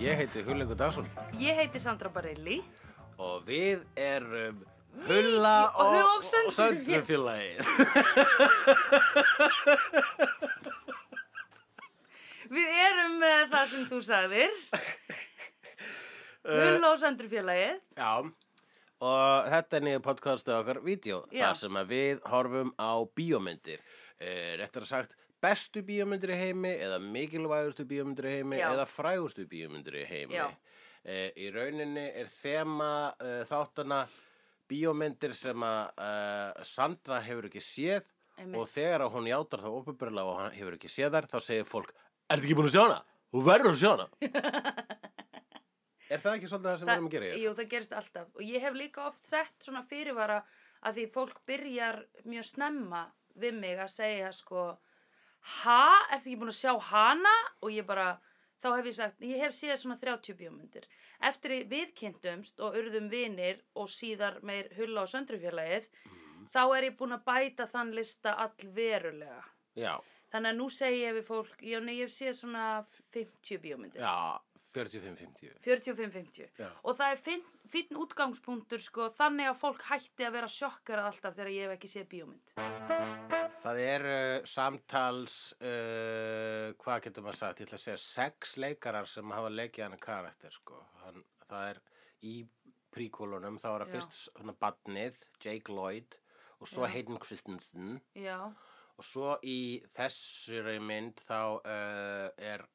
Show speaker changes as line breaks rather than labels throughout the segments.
heiti Hullingur Dagsson
Ég heiti Sandra Barilli
og við erum Hulla
Og Hug- og
og, og
Söndrufjö-
Söndrufélagið.
Við erum með það sem þú sagðir Hull og Söndrufjölagið
Já, og þetta er niður podcastið okkar vídeo,
Já.
þar sem að við horfum á bíómyndir. Eh, Réttar sagt, bestu bíómyndir í heimi eða mikilvægustu bíómyndir í heimi
Já.
eða frægustu bíómyndir í heimi.
Já.
Eh, Í rauninni er þema eh, þáttana bíómyndir sem að eh, Sandra hefur ekki séð
Einmitt.
og þegar að hún játar þá opinberlega og hann hefur ekki séð þar, þá segir fólk, ertu ekki búin að sjá hana? Þú verður að sjá hana. er það ekki svolítið það sem við erum að gera hér?
Jú, það gerist alltaf og ég hef líka oft sett svona fyrirvara að því fólk byrjar mjög snemma við mig að segja sko Ha? Er þið ekki búin að sjá hana? Og ég bara, þá hef ég sagt, ég hef séð svona 30 bíómyndir. Eftir að við kynntumst og urðum vinir og síðar meir Hulla og Söndrufjölagið,
Mhm.
þá er ég búin að bæta þann lista allverulega.
Já,
Þannig að nú segi ég við fólk, já nei, ég sé svona 50 bíómyndir.
já, 45-50
45-50.
Já.
Og það er finn, finn útgangspunktur, sko, þannig að fólk hætti að vera sjokkarað alltaf þegar ég hef ekki séð bíómynd.
Það er uh, samtals, uh, hvað getur maður sagt, ég ætla að segja sex leikarar sem hafa leikið hann karakter sko. Hann, það er í príkólunum, þá er það
Já.
fyrst svona badnið, Jake Lloyd og svo
Já.
Hayden Christensen
Já,
og svo í þessari mynd þá uh, er,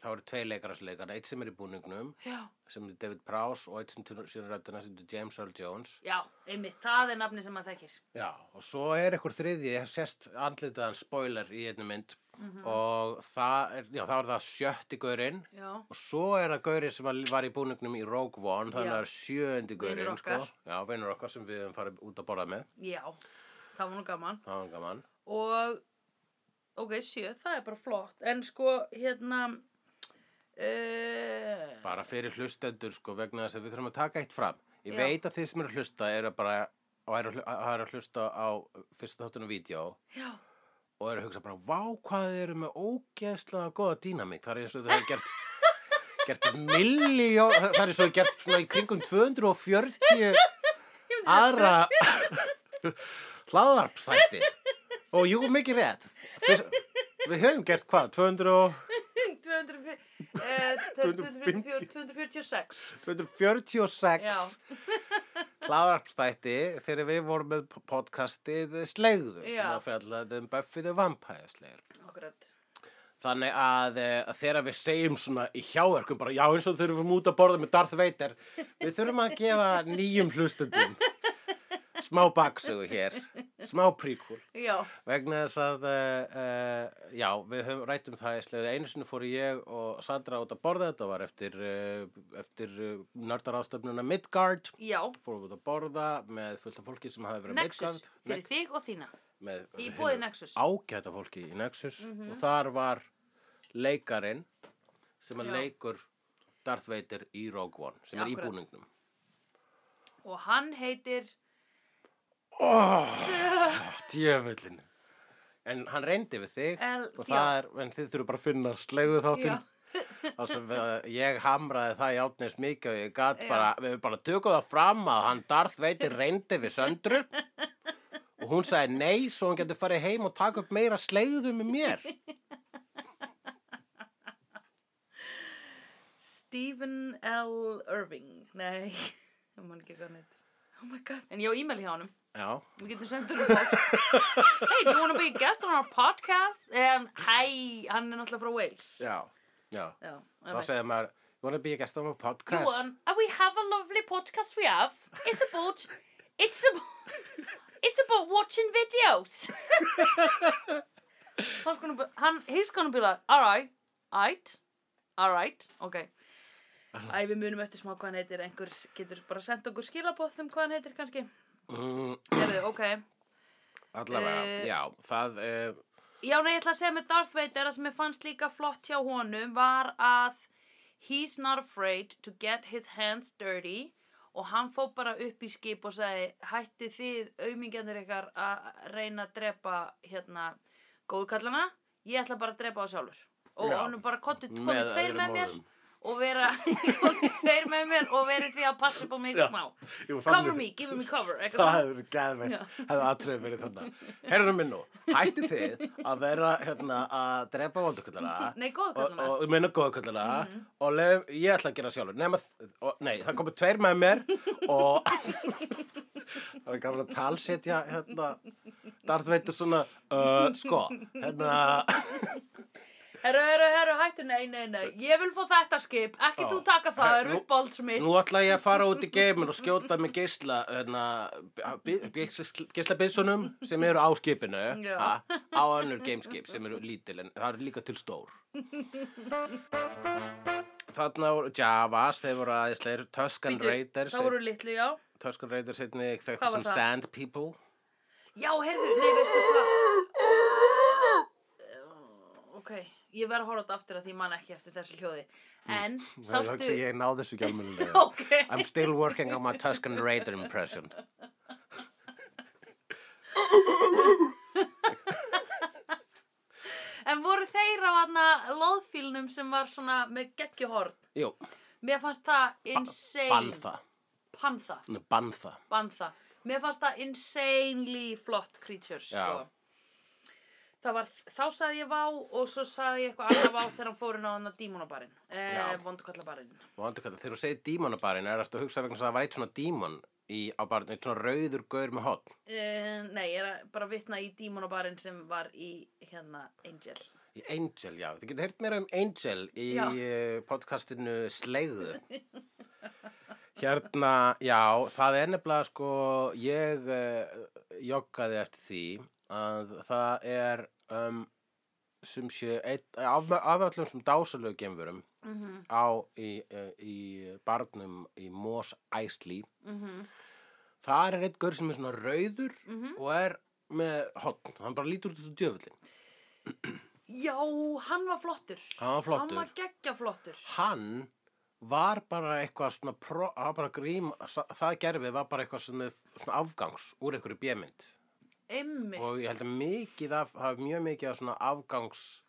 þá eru tvei leikarar sem leikar, eitt sem er í búningnum
já,
sem er David Prowse og eitt sem tennur síðan rættina sem er James Earl Jones.
já, einmitt, það er nafni sem maður þekkir.
Já, og svo er einhver þriðji, ég hef sérst andlitaðan spoiler í einni mynd
Mhm. Mm.
og það er, já, þá er það sjötti gaurinn
Já,
og svo er það gaurinn sem að- var í búningnum í Rogue One, þannig að
Já.
það er sjöndi
Vinur
gaurinn, sko.
okkar.
Já, vinur okkar sem við höfum farið út að borða með,
já, það var nú gaman.
það var gaman.
og ok, sjö, það er bara flott en sko, hérna uh,
Bara fyrir hlustendur, sko, vegna þess að við þurfum að taka eitt fram. Ég
Já.
veit að þið sem eru að hlusta eru bara, og eru að hlu- að eru að hlusta á fyrsta þáttunum vídeo
já,
og eru að hugsa bara, vá hvað þið eru með ógeðslega góða dýnamík, það er eins og þau hafa gert gert miljón, það er eins og þau gert svona í kringum 240 aðra hlaðvarpstætti og jú, mikið rétt Fyrst, við höfum gert hvað, 200 og
250, eh, 254 246
246
Já.
hlaðvarpstætti þegar við vorum með podcastið Slegður sem
Já.
að fjallaði um Buffy the Vampire Slayer
akkurat
Þannig að, eh, að þegar við segjum svona í hjáverkum bara já eins og þurfum út að borða með Darth Vader við þurfum að gefa nýjum hlustundum smá baksögu hér, smá príkul
já,
vegna þess að uh, uh, já, við höfum rættum það æslega einu sinni fór ég og Sandra út að borða þetta var eftir, uh, eftir uh, nördarástöfnuna Midgard
já
fórum við út að borða með fullt af fólki sem hafi verið á
Nexus,
Midgard
fyrir þig og þína
með
Í
hinu
boði Nexus. Mhm.
ágæta fólki í Nexus og þar var leikarinn sem að
Já.
leikur Darth Vader í Rogue One sem er í
Akkurat.
búningnum
og hann heitir Ah,
djöfullin Ah, en hann reyndi við þig
El-
og
já.
það er, en þið þurfum bara að finna slegðu
já,
þáttinn þar sem við, ég hamraði það í átnins mikið og ég gat
Já.
bara, við bara tökum það fram að hann Darth Vader reyndi við söndru og hún sagði nei svo hann getur farið heim og taka upp meira slegðu með mér
Stephen L. Irving nei, ég man ekki hvað hann heitir oh my god, en ég á e-mail hjá honum
já
Við getum sendur um það. hey, do you want to be a guest on our podcast? Um, hæ, hann er náttúrulega frá Wales.
Já, já.
Já,
Þá
alright.
segir maður, you wanna be a guest on my
You
podcast?
want, and we have a lovely podcast we have. It's about, it's about, it's about watching videos. Hans gonna be, hann, he's gonna be like, alright, alright, alright, ok. Æ, við munum eftir smá hvað hann heitir, einhver getur bara sendt okkur skilabóð um hvað hann heitir kannski.
Mm,
Herðu, ok.
allavega,
Eh,
já, það, uh,
Já, nei, ég ætla að segja með Darth Vader að sem ég fannst líka flott hjá honum var að he's not afraid to get his hands dirty og hann fó bara upp í skip og sagði hætti þið aumingjarnir ykkar að reyna að drepa hérna góðkallana ég ætla bara að drepa þá sjálfur og
Já.
honum bara komið
með
tveir
öðrum
með mér
orðum.
og vera og tveir með mér og verið því að passa upp á mig
Já.
smá
Jú,
Cover
þannig-
me, give me cover, eitthvað
Það
svona.
hefur verið
Já.
geðveitt, hefði aðtrefið verið þannig. Herru minn nú, hætti þið að vera hérna að drepa vondukallara
Nei, góðu
og,
kallana
og ég meina góðkallara
Mhm.
og lef, ég ætla að gera sjálfur. Nema, þ- og, nei, það komu tveir með mér og það er gaman að talsetja hérna, Darth Vader svona, uh, sko, hérna,
Herru, herru, herru, hættu, nei, nei, nei Ég vil fá þetta skip, ekki
Já.
þú taka það,
Her-
er
nú-
uppáhalds mitt
nú ætla ég að fara út í geimin og skjóta með geisla, hérna, geislabissunum sem eru á skipinu,
Já.
ha, á önnur geimskip sem eru lítil en það eru líka til stór. Þarna voru Javas, þeir voru aðeinsleir, Tuscan
Bíddu,
Raiders,
Það voru litlu, já
Tuscan Raiders einni þekktu
Hvað var
sem
það?
Sand People.
Já, heyrðu, nei, veistu hvað Eh, Ok, ég verð að horfa á þetta aftur að því ég man ekki eftir þessu hljóði En,
Það
sástu
hugsa Ég náði þessu Hm, ekki almennilega.
Ok,
I'm still working on my Tuscan Raider impression.
en voru þeir á hana loðfílnum sem var svona með geggjuhorn
Jú,
Mér fannst það insane
Bantha,
Pantha,
Nei, Bantha.
Bantha Mér fannst það insanely flott creatures sko.
Já.
Það var, þá sagði ég vá og svo sagði ég eitthvað annað vá þegar hann fór inn á hann að dímonabarinn, eh,
Já.
vondukallabarinn.
Vondu hvað, þegar þú segir dímonabarinn, er þetta að hugsa vegna þess að það var eitt svona dímon í, á barinn, eitt svona rauður gaur með hotn.
Eh, nei, ég er að bara vitna í dímonabarinn sem var í hérna Angel.
Í Angel, já. Þið getur heyrt meira um Angel í
Já.
já. podcastinu Slegðu. Hérna, já, það er nefnilega sko, ég uh, joggaði eftir því að það er um, sem sé, eitt, af, af öllum sem dásalögu gemfurum
Mm -hmm,
á í, uh, í barnum í Mos Eisley.
mm -hmm,
Það er eitt gaur sem er svona rauður
mm
og er með hotn, hann bara lítur út þessu djöfullin.
Já, hann var flottur.
Hann var flottur.
Hann var geggja flottur.
hann var bara eitthvað svona pro, hann var bara grím, það gerfið var bara eitthvað svona, svona afgangs úr einhverju bjömynd
Einmitt.
og ég held að mikið af, það er mjög mikið af svona afgangs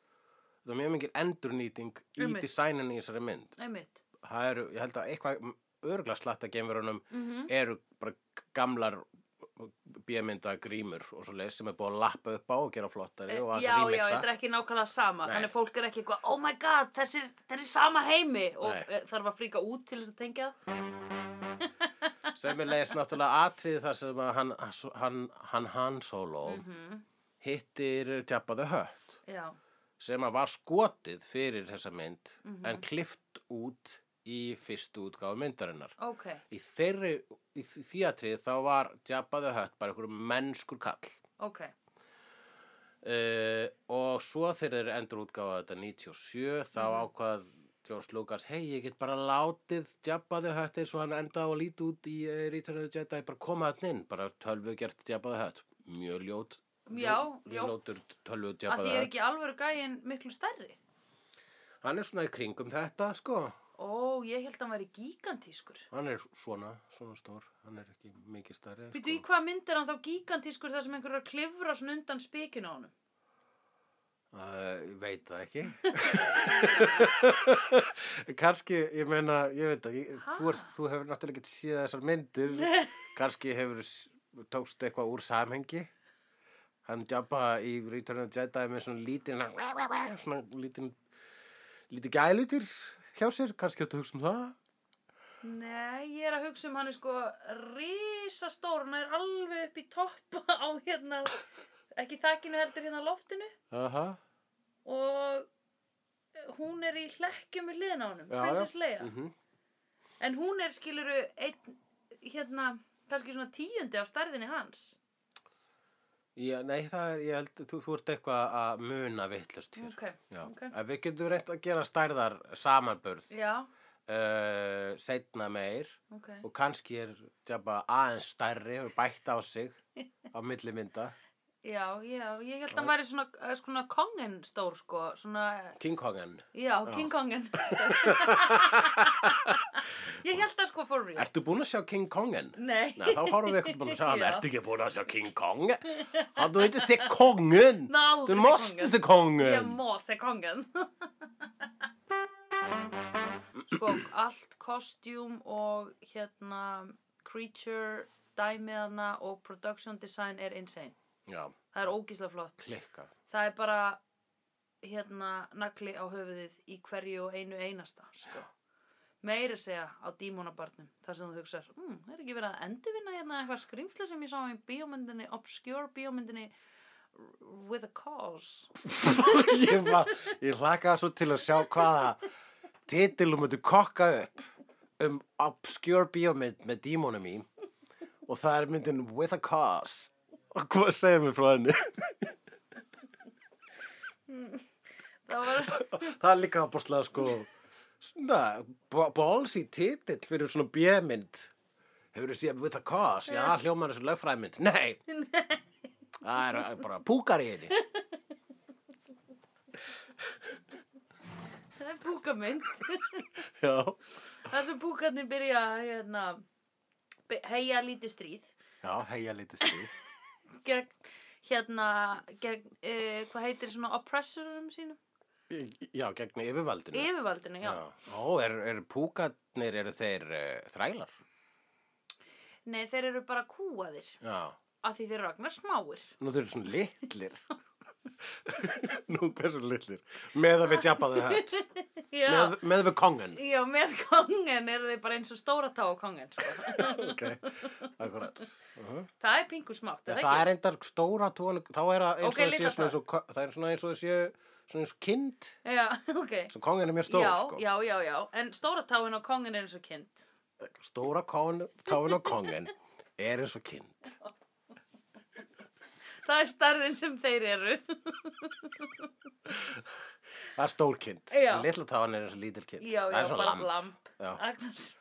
það er mjög mikið endurnýting í
Einmitt.
designinu í þessari mynd
Einmitt.
það eru, ég held að eitthvað örgla slatta geimverunum
Mm
eru bara gamlar bjömynda grímur og svo leis sem er búið að lappa upp á og gera flottari og
Eh, já,
að
já,
remixa
þetta er ekki nákvæmlega sama.
Nei.
Þannig að fólk er ekki eitthvað, oh my god, þessi, þessi sama heimi. Og
Nei.
Nei. þarf að fríka út til þess að tengja það.
sem er leis náttúrulega atrið þar sem að hann, hann, hann, hann solo
Mm -hmm.
hittir Jabba the Hutt
Já.
sem að var skotið fyrir þessa mynd
Mhm.
en klift út í fyrstu útgáfu myndarinnar.
Ok,
Í þeirri, í þ- því atrið þá var Jabba the Hutt bara einhverjum mennskur kall
ok.
uh, og svo þegar þeir endur útgáfa þetta 97 þá
Mhm.
ákvað George Lucas, hei ég get bara látið Jabba the Hutt eins og hann endaði að líti út í uh, Return of the Jedi, bara koma hann inn, bara tölvu gert Jabba the Hutt, mjög ljót.
Já,
mjög
ljótt.
ljótur tölvu
Að
Jabba
því
the
er
Hutt.
ekki alvöru gæin miklu stærri.
Hann er svona í kringum þetta, sko.
Ó, ég held að hann væri gigantískur.
Hann er svona, svona stór. Hann er ekki mikið sko. starri.
Býtu í hvað mynd er hann þá gigantískur þar sem einhverjar klifra svona undan spikinu á honum?
Uh, ég veit það ekki. Kanski, ég meina, ég veit ekki. Þú, er,
Ha?
þú hefur náttúrulega ekki séð þessar myndir. Kanski hefur s- tókst eitthvað úr samhengi. Hann jabba í Return of the Jedi með svona lítinn, svona lítinn, lítið gælutir hjá sér. Kanski þetta hugsa um það.
Nei, ég er að hugsa um hann er sko risastór, hann er alveg upp í topp á hérna, ekki þakkinu heldur hérna á loftinu
Aha.
og eh, hún er í hlekkjum við hliðina á honum,
Já, já.
Princess Leia.
Mhm.
En hún er skiluru einn, hérna, kannski svona tíundi af stærðinni hans.
Já, nei, það er, ég held, þú, þú ert eitthvað að muna vittlust hér.
Ok,
Já,
ok.
okay. við getum reynt að gera stærðar samanburð uh,
já,
setna Eh, meir
ok.
og kannski er jafna, aðeins stærri og bætt á sig á milli mynda.
Já, já, ég held að hann væri svona, eh, svona kongin stór sko, svona eh,
King Kongen,
Já,
Já.
King Kongen Ég held það sko for real
ertu búin að sjá King Kongen?
Nei,
Nei, þá horfum við ekkert búin að sjá hann,
Já.
ertu ekki búin að sjá King Kong? Hann, þú heitir þig Kongen,
Ná, aldrei
þú mást
Kongen.
þig Kongen.
Ég má segja Kongen sko allt costume og hérna creature dæmiðana og production design er insane
já,
það er ógíslega flott
klikka.
það er bara hérna nagli á höfuðið í hverju og einu einasta sko. meira segja á dímonabarnum þar sem þú hugsar, mm, það er ekki verið að endurvinna hérna eitthvað skrýmsli sem ég sá í bíómyndinni obscure bíómyndinni with a cause
ég, var, ég hlakaði svo til að sjá hvaða titilum myndu kokka upp um obscure bíómynd með dímonum í og það er myndin With a Cause og hvað segir mér frá henni?
það var,
það er líka ábúrslega sko svona bo- ballsy titill fyrir svona bjömynd hefur þú séð With a Cause? Já, hljómaður þessu lögfræðmynd Nei, það er bara púkar í henni
það er búkamynd
Já,
þar sem búkarnir byrja að, hérna, be- heia lítið stríð
Já heia lítið stíð
gegn hérna gegn, uh, hvað heitir svona oppressorum sínum
Já, gegn yfirvaldinu
yfirvaldinu, já.
Ó, eru er púkarnir, eru þeir uh, þrælar?
nei þeir eru bara kúaðir
Já.
af því þeir eru agnar smáir
Nú þeir eru svona litlir. Nú, hversu litlir? Með að við Jabba the Hutt.
já,
Með, með við kongen.
já með kongen eru þeir bara eins og stóra tá á kongen sko.
ok, akkurat. Uh -huh.
það er pingu smátt, er
Það er
það ekki?
eindar stóra tón, þá er það eins og
Ok,
okay,
litla
sé svona eins og, ko- það er svona eins og það sé svona eins og kind,
já, ok
svo kongen er mjög stór,
já,
sko.
já, já, já, en stóra táin á kongen er eins og kind
Stóra kon, tón og kongen er eins og kind.
það er starðin sem þeir eru
Það er stór kind.
Já.
Lilla tón er eins og lítil kind.
já,
það
já,
er svona
bara
lamb.
lamp
Já.
Agnars.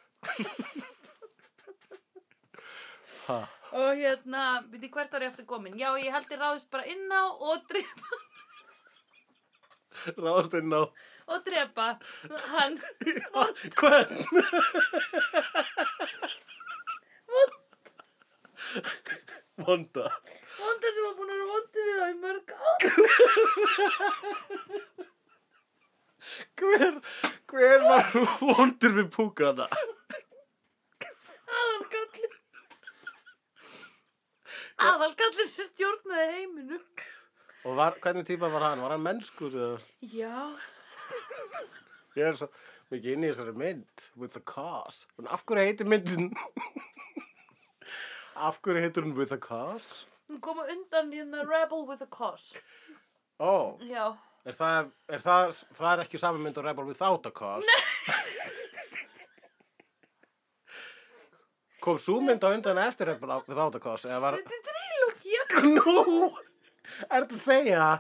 Ha.
og hérna, veitir hvert var ég aftur komin já, ég held ég ráðist bara inn á og drif
Ráðast inn á
og drepa hann
Hvern? Vonda
vonda sem var búin að vera vondi við þá í mörg ár
Hver, hver var vondur við púkana?
aðalgalli aðalgalli sem stjórnaði heiminu
Og var, hvernig típa var hann? Var hann mennskur? eða?
já,
Ég er svo mikið inn í þessari mynd With the cause En af hverju heitir myndin? af hverju heitir hún With the cause?
hún kom á undan hérna Rebel with a Cause
Ó,
já,
Oh, er það, er það, það er ekki saman mynd og Rebel Without a Cause? Nei Kom svo mynd á undan eftir Rebel Without a Cause? Eða var,
þetta er trilógi
nú, er þetta að segja að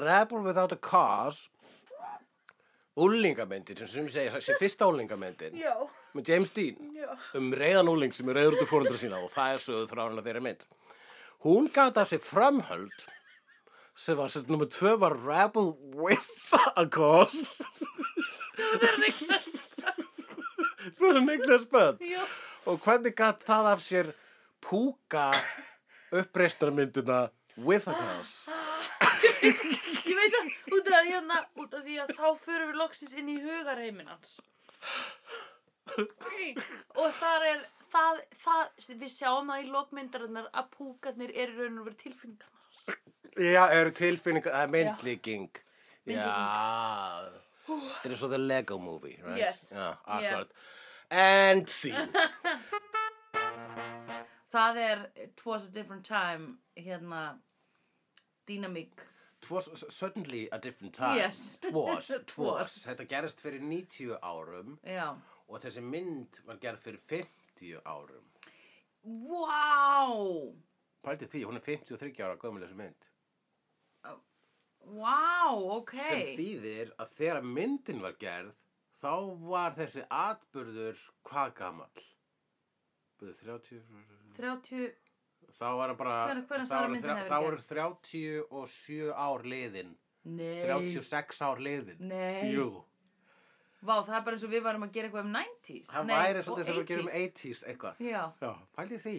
Rebel Without a Cause úlingamyndin, sem sem segja, sem fyrsta úlingamyndin
já,
með James Dean
já
um reyðan úling sem er reyður út í fóröldra sína og það er sögðu frá hana þeirra mynd hún gata sér framhöld sem var sett nummer tvö var Rebel with a Cause
það er neiklast
það er neiklega spöð
já,
og hvernig gat það af sér púka uppreistarmyndina with a Cause
ég veit að út af, hérna, út af því að þá förum við loksins inn í hugarheimin hans og þar er það, það, við sjáum það í lokmyndarinnar að púkarnir eru í raun og verið tilfinningarnar hans.
Já, eru tilfinningar, það er myndlíking.
Myndlíking.
Já, þetta er eins og The Lego Movie, right?
Yes.
Já, akkurat. And scene.
það er It was a different time hérna dynamík
Twas suddenly a different time.
Yes.
Twas, twas.
Twas.
Þetta gerist fyrir 90 árum
já
og þessi mynd var gerð fyrir 50 árum.
wow
Pældi því, hún er 53 ára gömul þessi mynd.
wow, ok
Sem þýðir að þegar myndin var gerð, þá var þessi atburður hvað gamall? Byrðu 30...
30,
Þá var hann bara,
Hvenær- hvenær
þá
sagði
var hann
myndin
þrjá-
hafi verið
þá
gerð?
voru 37 ár liðin,
nei
36 ár liðin.
nei,
Jú,
vá það er bara eins og við varum að gera eitthvað um 90s
það
Nei,
væri
og
svolítið sem við gerum um
80s.
80s eitthvað.
já
Já, pældi því.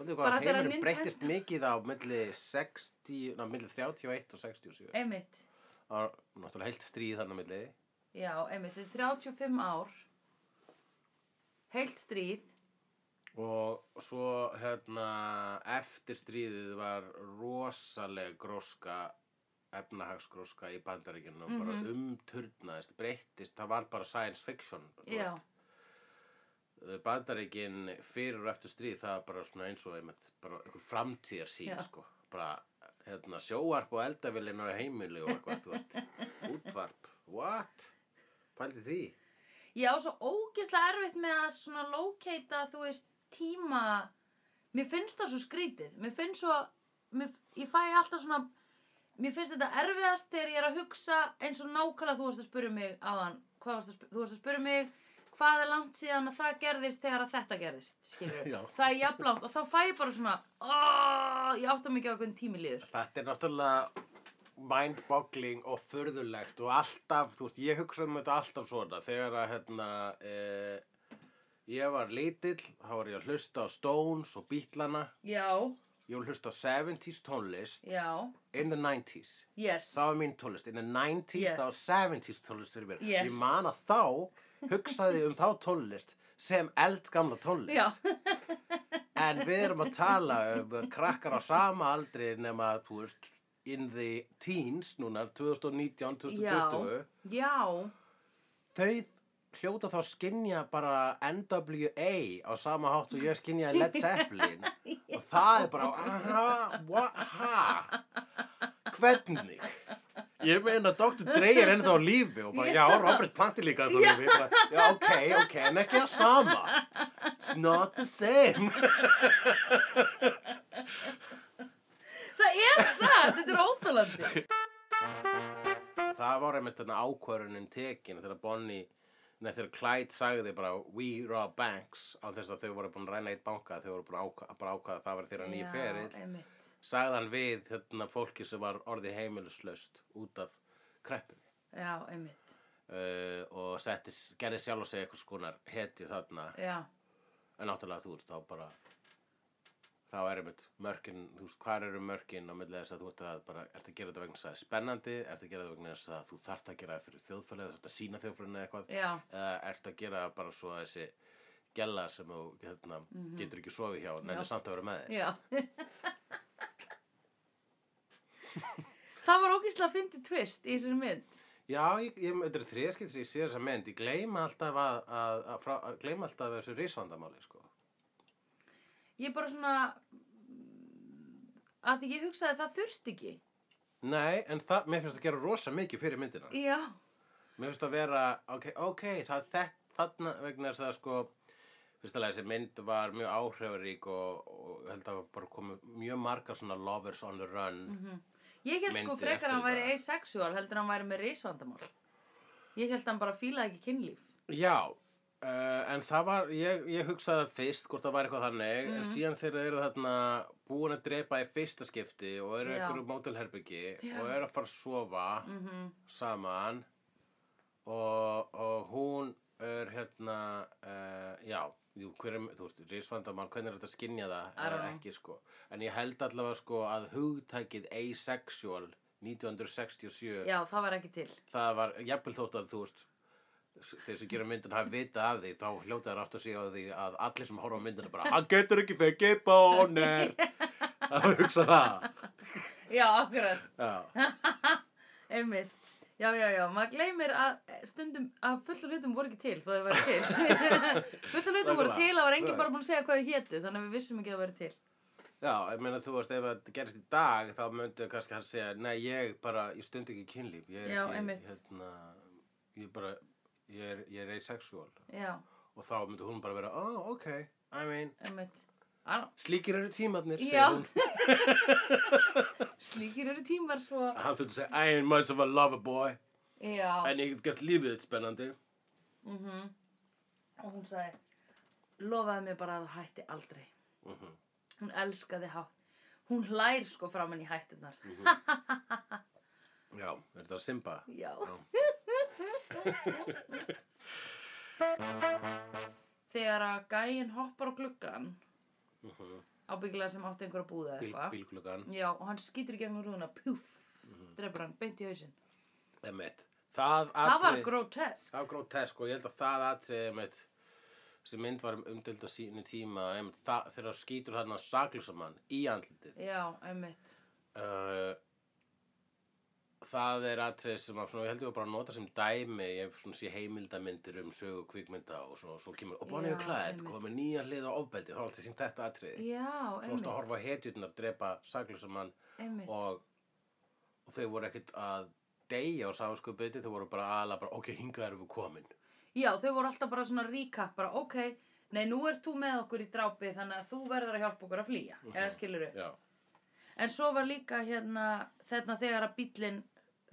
Pældi hvað
Bara þegar
heimurinn
Nintendo-
breyttist mikið á milli 60, ná, milli 31 og 67.
Einmitt,
Það var náttúrulega heilt stríð þannig milli.
já, einmitt, þetta er 35 ár heilt stríð
Og svo hérna eftir stríðið var rosaleg gróska, efnahagsgróska í bandaríkjunum og bara
Mhm.
umturnaðist, breyttist, það var bara science fiction. þú
Já.
veist. Eh, Bandaríkin fyrir og eftir stríð það var bara svona eins og einmitt, bara einhver framtíðarsýn
Já.
sko. Bara hérna sjóarp og eldavillin á heimili og eitthvað, þú veist, útvarp, what? Pældi því?
Ég á svo ógeðslega erfitt með að svona locata, þú veist, tíma. Mér finnst það svo skrítið. Mér finnst svo, mér, ég fæ alltaf svona, mér finnst þetta erfiðast þegar ég er að hugsa eins og nákvæmlega þú varst að spyrja mig áðan. Hvað varst að, sp- þú varst að spyrja mig hvað er langt síðan að það gerðist þegar að þetta gerðist, skilur
Já.
Það er jafnlangt og þá fæ ég bara svona, aaaah, ég átta mikið á hvernig tími líður.
Þetta er náttúrulega mind-boggling og förðulegt og alltaf, þú veist, ég hugsa um þetta alltaf svona þegar að, hérna, eh, ég var lítill, þá var ég að hlusta á Stones og Beatlana,
Já,
ég var að hlusta á 70s tónlist
já,
in the 90s.
yes.
Það var mín tónlist, in the 90s,
Yes.
það var 70s tónlist fyrir mér.
Yes.
Ég man að þá hugsaði um þá tónlist sem eldgamla tónlist.
Já,
En við erum að tala um krakkar á sama aldri nema, þú veist, in the teens núna, 2019, 2020.
já,
Þau hljóta þá skinja bara NWA á sama hátt og ég skinja Led Zeppelin. og það er bara, aha, what, ha, hvernig? Ég meina, Dr. Dre er ennþá á lífi og bara, já, Robert Plant er líka ennþá á lífi. Ég bara, Já, ok, ok, en ekki það sama. It's not the same.
það er satt, þetta er óþálandi.
Það var einmitt þarna ákvörunin tekin þegar Bonnie, neð þegar Clyde sagði bara We rob banks á þess að þau voru búin að ræna eitt banka þau voru búin að ákvaða, bara ákvaða að það var þeirra nýja ferill
Já, einmitt.
sagði hann við hérna, fólki sem var orðið heimilislaust út af kreppin
Já, einmitt.
uh, og setti, gerði sjálf og segja eitthvað skonar hetju þarna
Já,
en náttúrulega þú veist þá bara þá er einmitt mörkin þú veist hvar eru mörkin á milli þess að þú ert að bara ert að gera þetta vegna þess að það er spennandi ert að gera þetta vegna þess að þú þart að gera það fyrir þjóðfélagið þú þart að sína þjóðfélaginu eitthvað
já,
eða ert að gera það bara svo að þessi gella sem þú hérna,
Mhm.
getur ekki sofið hjá en
Já.
er samt að vera með þér
já. það var ógeðslega fyndið twist í þessari mynd.
já, ég, ég, þetta er þriðskipt sem ég sé þessa mynd ég gleyma alltaf að, að, að, frá, að gleyma alltaf þessu risvandamáli sko.
Ég bara svona, að því ég hugsaði að það þurfti ekki.
nei, en það, mér finnst það gera rosa mikið fyrir myndina
Já,
Mér finnst að vera, ok, ok, það er þetta, þarna vegna þess að sko, fyrst að þessi mynd var mjög áhrifarík og, og ég held að bara komið mjög margar svona lovers on the run.
Mm. ég held sko
Myndið
frekar að hann
Mm. eftir
væri
bara.
asexual, heldur en hann væri með reisvandamál. Ég held að hann bara fílaði ekki kynlíf.
Já, uh, en það var, ég, ég hugsaði fyrst hvort það var eitthvað þannig, en
Mhm.
síðan þegar þau eru þarna búin að drepa í fyrsta skipti og eru
Já.
einhverju mótelherbyggi
Já.
og eru að fara að sofa
Mm
saman og, og hún er hérna, uh, já, jú, hver er, þú veist, risvandamann, hvernig er þetta að skynja það
I don't
eða
know.
ekki, sko. En ég held allavega, sko, að hugtækið asexual 1967,
Já, það var ekki til.
það var, jafnvel þótt að, þú veist, s- þeir sem gera myndin hafi vitað af því, þá hljóta þær átt að segja á því að allir sem horfa á myndina bara, hann getur ekki fengið bónir, að hugsa það,
Já, akkurat.
já.
Einmitt. Já, já, já, maður gleymir að eh, stundum að fullt af hlutum voru ekki til þó þau væri til. fullt af hlutum voru
Nákvæmlega,
til, það var enginn
þú
bara
veist.
búin að segja hvað þau hétu, þannig að við vissum ekki að það væri til.
Já, ég meina þú veist ef þetta gerist í dag þá myndi kannski hann segja nei ég bara, ég stund ekki kynlíf ég er
Já,
ekki,
einmitt.
hérna ég bara, ég er, ég er asexual
Já,
og þá myndi hún bara vera, oh ok I mean,
einmitt. Á,
slíkir eru tímarnir segir
Já.
hún.
Slíkir eru tímar svo.
hann þurfti að segja, I ain't much of a lover boy
Já.
en ég get gert lífið þitt spennandi
Mm Og hún sagði, lofaði mér bara að það hætti aldrei.
mm
Mhm.
-hmm.
Hún elskaði hátt. Hún hlær sko framann í hættunar.
Mm. Já, er þetta Simba?
Já.
Já.
Þegar að gæinn hoppar á gluggan,
Mm
ábyggilega sem átti einhverja búða eða
Bíl, Mhm.
eitthvað.
Bílklukkan
Já, og hann skýtur í gegnum rúðuna, pjúf, drefur hann, beint í hausinn.
Emmett Það,
Það var
atriði-
grotesk.
Það var grótesk og ég held að það atriði mitt sem mynd var umdild á sínu tíma em, það, þegar þú skýtur þarna saklusamann í andlitið
já, einmitt.
uh, það er atrið sem að svona, ég held ég var bara að nota sem dæmi ég svona, sé heimildamindir um sögu kvikmynda og svo, svo kemur, og Bonnie
Já,
og Clyde
einmitt.
komið nýja hlið á ofbeldi, þá er alltaf sínt þetta atrið
Já,
þú varst að horfa
einmitt.
á hetjurnar drepa saklusamann
einmitt.
og, og þau voru ekkert að deyja á sáskupið þau voru bara aðla bara, ok, hingað erum við komin
Já, þau voru alltaf bara svona recap, bara ok, nei, nú ert þú með okkur í drápi þannig að þú verður að hjálpa okkur að flýja,
Mhm.
eða skilur við.
já,
En svo var líka hérna, þarna þegar að bíllinn,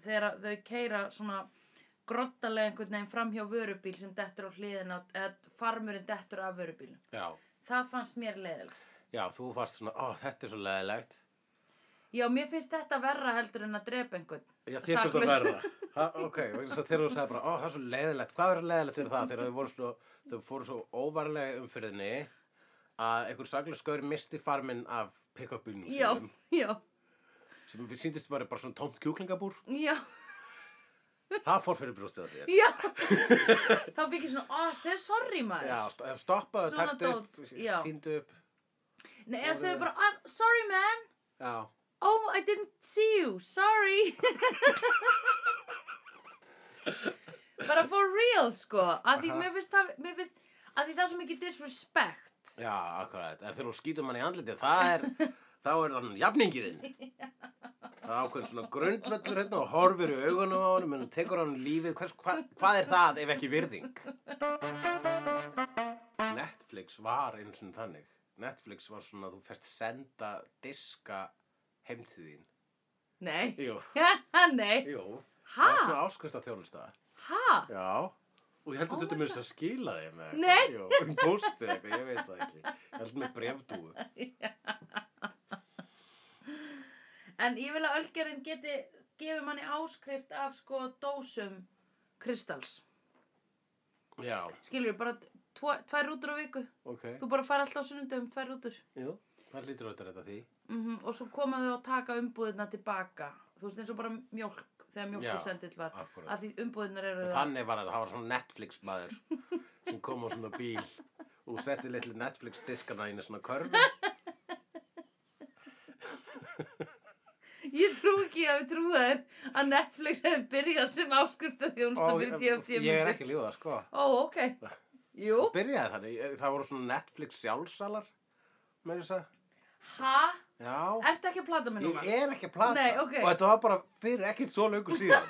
þegar að þau keira svona grottalega einhvern veginn fram hjá vörubíl sem dettur á hliðina, eða farmurinn dettur af vörubílum.
já,
Það fannst mér leiðilegt.
já, þú varst svona, ó, þetta er svo leðilegt
Já, mér finnst þetta verra heldur en að drepa einhvern.
Já, þér finnst það
Saklaus.
verra. Ha, ok, vegna þess að þegar þú sagði bara, ó, það er svo leiðilegt, hvað er leiðilegt fyrir það þegar þau voru svo, þau fóru svo óvarlega í umfyrðinni að einhver saglega skaur misti farminn af pick-up bílnum
Já,
sínum
já,
sem við síndist var bara svona tómt kjúklingabúr.
já,
Það fór fyrir brjóstið að þér.
já. Þá fikk ég svona, ó, segð sorry maður.
Já, st- ef stoppaðu,
Svona
taktu upp,
dót, já.
týndu upp.
Nei, eða
Orðið
segðu
er-
bara, "Ah, sorry man,
Já,
oh, I didn't see you, sorry. bara for real, sko. Að því
Aha.
mér finnst það, mér finnst, að því það er svo mikið disrespect.
já, akkurat. En þegar þú skýtum hann í andlitið, það er, þá er hann jafningiðinn. Það er ákveðin svona grundvöllur hérna og horfir í augunum á honum en tekur hann lífið, hvers, hva, hvað er það ef ekki virðing? Netflix var eins og þannig. Netflix var svona að þú fyrst senda diska heim til þín.
Nei,
Jú,
nei,
jú. Það var
ha,
svona áskvæmsta þjónusta.
ha,
Já. Og ég held
Oh
að þetta
my
mér þess að skila þeim eða
Nei.
eitthvað. Jú, um póstið eitthvað, ég veit það ekki. Ég held með brefdúu.
en ég vil að ölgerinn geti, gefi manni áskrift af, sko, dósum kristals.
Já,
Skilur, bara tvo, tvær rútur á viku.
ok.
Þú bara fara alltaf á sunnundum, tvær rútur.
Jú, það lítur auðvitað þetta því.
Mm og svo koma þau að taka umbúðina tilbaka þú veist eins og bara mjólk þegar mjólkusendill var
Akkurat.
að því umbúðinar eru
Og
það
Þannig var það, það var svona Netflix maður sem kom á svona bíl og setti litlu Netflix diskana inn í svona körfu.
ég trú ekki að við trúa þér að Netflix hefði byrjað sem áskursta þjónusta
Og-
fyrir tíu af tíu
Ég er ekki ljúða, sko.
ó ok jú
Það byrjaði þannig, ég- það voru svona Netflix sjálfsalar, með þess að.
ha
Já,
ertu ekki að plata mig núna
ég er ekki að plata.
Nei, ok.
Og þetta var bara fyrir ekkert svo löngu síðan.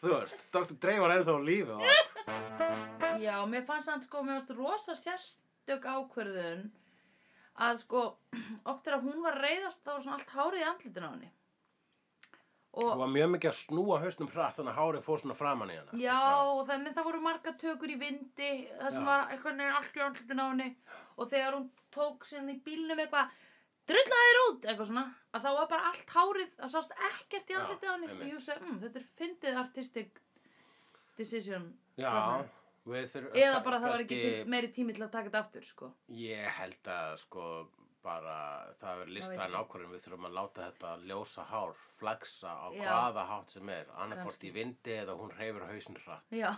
Þú veist, Dr. Dre var ennþá á lífi og allt.
já mér fannst hann sko mér fannst rosa sérstök ákvörðun að sko oft er að hún var að reyðast þá var svona allt hárið í andlitin á henni og
Hún var mjög mikið að snúa hausnum hratt þannig að hárið fór svona framan í hana.
Já, og þannig það voru marga tökur í vindi, það sem
Já.
var eitthvað neginn allt í andlutin á henni og þegar hún tók sinni í bílnum eitthvað, drullaði þér út, eitthvað svona, að þá var bara allt hárið, það sást ekkert í
Já,
andlutin á henni og
einmitt.
ég hugsaði, mm, þetta er fyndið artistic decision
Já, við þurfum
eða bara það var ekki
kannski-
til, meiri tími til að taka þetta aftur, sko.
Ég held að sko bara það er listræn
ekki.
ákvörðin við þurfum að láta þetta ljósa hár flagsa á
Já.
hvaða hátt sem er annarkvort
Kannski.
í vindi eða hún hreyfir hausinn hratt
Já,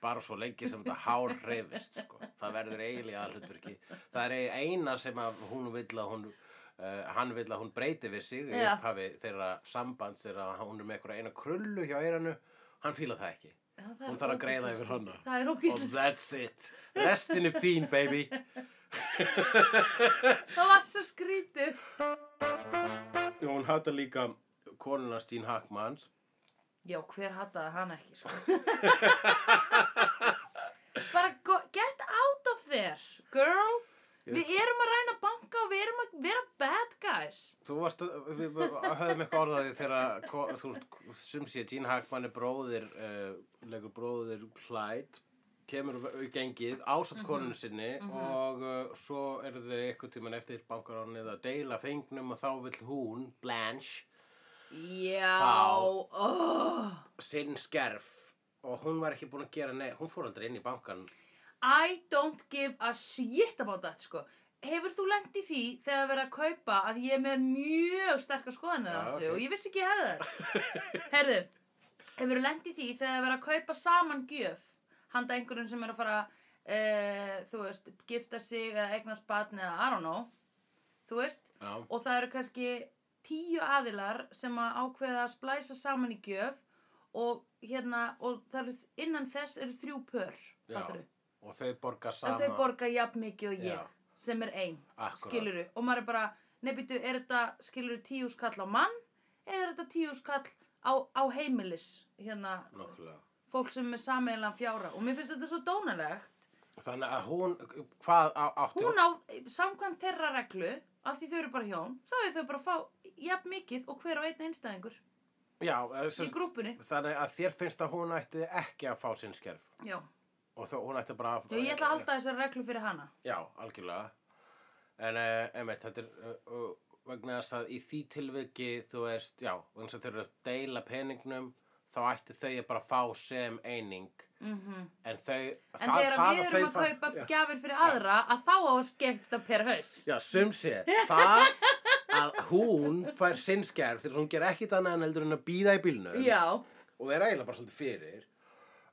bara svo lengi sem þetta hár hreyfist sko. það verður eiginlega hlutverki það er eiginlega eina sem að hún vill að hún Uh, hann vill að hún breyti við sig í
Já.
upphafi þeirra sambands þeirra hún er með einhverja eina krullu hjá eiranu hann fíla það ekki
Já, það er
Hún þarf að greiða
ógeðslega
yfir
skrítið.
hana.
Það er
og
ógíslega,
that's it restin er fín baby
það var svo skrítið.
Já, hún hata líka konuna Stín Hackmanns.
Já, hver hataði hann ekki, sko. Bara go- get out of there, girl. Við erum að ræna banka og við erum að vera bad guys.
Þú varst, að- við við höfðum eitthvað orðaði þegar, ko- þú veist, sum sé, Gene Hackmann er bróðir, uh, legur bróðir Clyde, kemur í gengið, ásatt konunu sinni
mhm.
og uh, svo eru þau eitthvað tíman eftir bankaránið að deila fengnum og þá vill hún, Blanche,
Já,
Þá-
oh.
sinn skerf og hún var ekki búin að gera neitt, hún fór aldrei inn í bankan.
I don't give a shit about that, sko. Hefur þú lent í því þegar að vera að kaupa að ég er með mjög sterkar skoðanir
Já,
af þessu
ok.
og ég vissi ekki að ég hefði þær. Herðu, hefur þú lent í því þegar að vera að kaupa saman gjöf handa einhverjum sem er að fara uh, þú veist, gifta sig eða eignast batn eða I don't know, þú veist,
já,
og það eru kannski tíu aðilar sem að ákveða að splæsa saman í gjöf og hérna, og það eru, innan þess eru þrjú pör,
Já,
fattur
og þau borga
að
sama.
þau borga jafn mikið og ég,
Já.
sem er ein,
Akkúrat.
skiluru, og maður er bara, nefndu, er þetta, skiluru, tíu skall á mann, eða er þetta tíu skall á, á heimilis, hérna,
Nákvæmlega.
fólk sem er sameiginlega fjára, og mér finnst þetta svo dónalegt,
Þannig að hún, hvað á, átti
hún á, samkvæmt þeirra reglu, af því þau eru bara hjón, þá er þau bara að fá jafn mikið og hver á einn einstæðingur
já, eh,
í
sem,
grúpunni.
þannig að þér finnst að hún ætti ekki að fá sinn skerf
Já.
og þá hún ætti bara að...
Já, ég ætla að halda þessar reglu fyrir hana.
Já, algjörlega. En uh, einmitt, þetta er uh, uh, vegna þess að í því tilviki, þú veist, já, vegna þess að þau eru að deila peningnum, þá ætti þau að bara fá sem eining.
Mm
En þau...
En þegar við erum að kaupa
Já,
gjafir fyrir aðra, að þá á að skemmta per haus.
já sum sé, það að hún fær sinn skerf þegar hún ger ekkit annað en heldur en að býða í bílnum
Já,
og er eiginlega bara svolítið fyrir.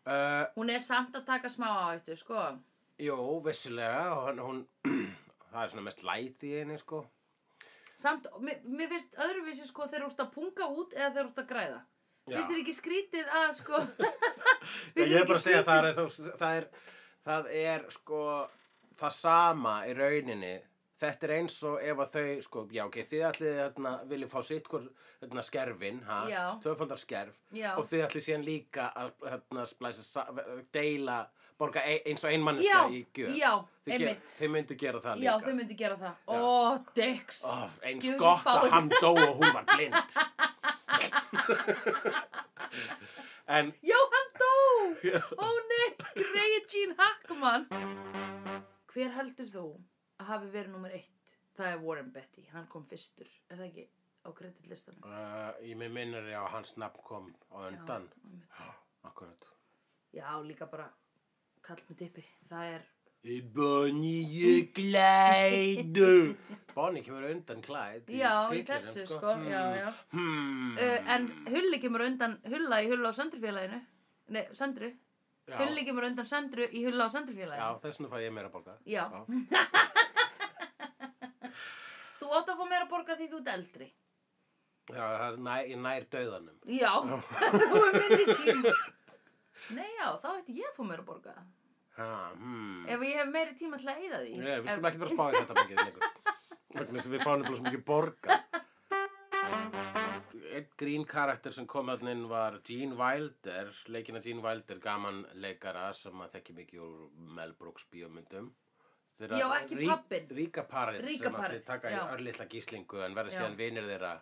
Uh,
hún er samt að taka smá áhættu, sko.
jú, vissilega, og hann- hún, það er svona mest læti í henni, sko.
Samt, mér, mér finnst öðruvísi, sko, þeir eru út að punga út eða þeir eru út að græða.
Já.
Finnst þér ekki skrítið að, sko...
Já, ég
finnst þér
er bara
ekki
að segja
skrítið?
að það er, það, það er, það er sko það sama í rauninni. Þetta er eins og ef að þau, sko, já, ok, þið ætlið hérna, viljið fá sitt hvort hérna, skerfin, ha,
Já.
tvöfaldar skerf
Já,
og þið ætlið síðan líka að hérna, splæsa, sa- deila, borga ein, eins og
já,
einmanniska í gjöf.
já,
Þið ger-
einmitt.
Þið myndu gera það
Já,
líka.
þau myndu gera það.
Já.
Ó, Dix.
Ó, eins
Djöfusins
gott að
fáið.
hann dó og hún var blind. en
Já, hann dó! Ó nei, greiði Gene Hackman! Hver heldur þú að hafi verið nummer eitt? Það er Warren Betty, hann kom fyrstur, er það ekki á kreditlistanum?
Uh, ég með minnur ég á hans nafn kom á undan.
Já, einmitt.
Akkurat.
Já, líka bara kall með tippi, það er...
Í Bonnie klædu. Bonnie kemur undan klæd.
Já, í þessu sko, já,
Mm.
já.
Hmm.
Uh, en Hulli kemur undan Hulla í Hulla á Söndrufélaginu. Nei, Söndru.
já,
Hulli kemur undan Söndru í Hulla á
Já,
Söndrufélaginu.
þess vegna fæ ég meira borga.
Já. Þú átt að fá meira borga því þú ert eldri.
Já, það er nær, ég nær döðanum.
Já, þú er minni tíma. Nei já, þá ætti ég að fá meira borga.
Ha, hmm.
Ef ég hef meiri tíma til að eyða því.
Nei, við skulum
Ef-
ekki vera að spá í þetta mikið lengur. Vegna þess að við fáum nefnilega svo mikið borga. Einn grín karakter sem kom hann inn var Gene Wilder, leikina Gene Wilder, gaman leikara sem maður þekki mikið úr Mel Brooks bíómyndum. Þeirra
Já, ekki
rík-
pabbinn.
Ríka parið
Ríka
sem að
parið,
þeir taka í
já.
örlitla gíslingu en verða
Já.
síðan vinir þeirra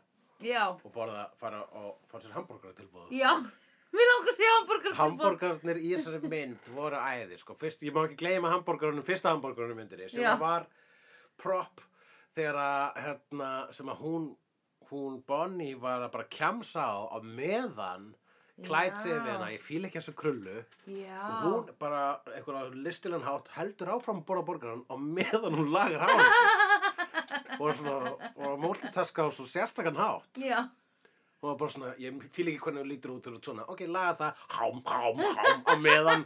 Já,
og borða, fara og fara sér hambúrgara tilbúð.
já, við langar að sé hambúrgar
Hambúrgarnir í þessari mynd voru æði sko. Fyrst, ég má ekki gleyma hambúrgarunum, fyrsta hambúrgarunum myndinni sem
Já.
var prop þegar að, hérna, sem að hún, hún Bonnie var að bara kjamsa á á meðan klætt sig við hana, ég fíl ekki þessu krullu
Já,
og hún bara eitthvað listilegan hátt heldur áfram að borða borgaran og meðan hún lagar hárið sitt og var svona, og var að multitaska á svo sérstakann hátt
já,
og var bara svona, ég fíl ekki hvernig þú lítur út og þú ert svona, ok, laga það, hám, hám, hám á meðan,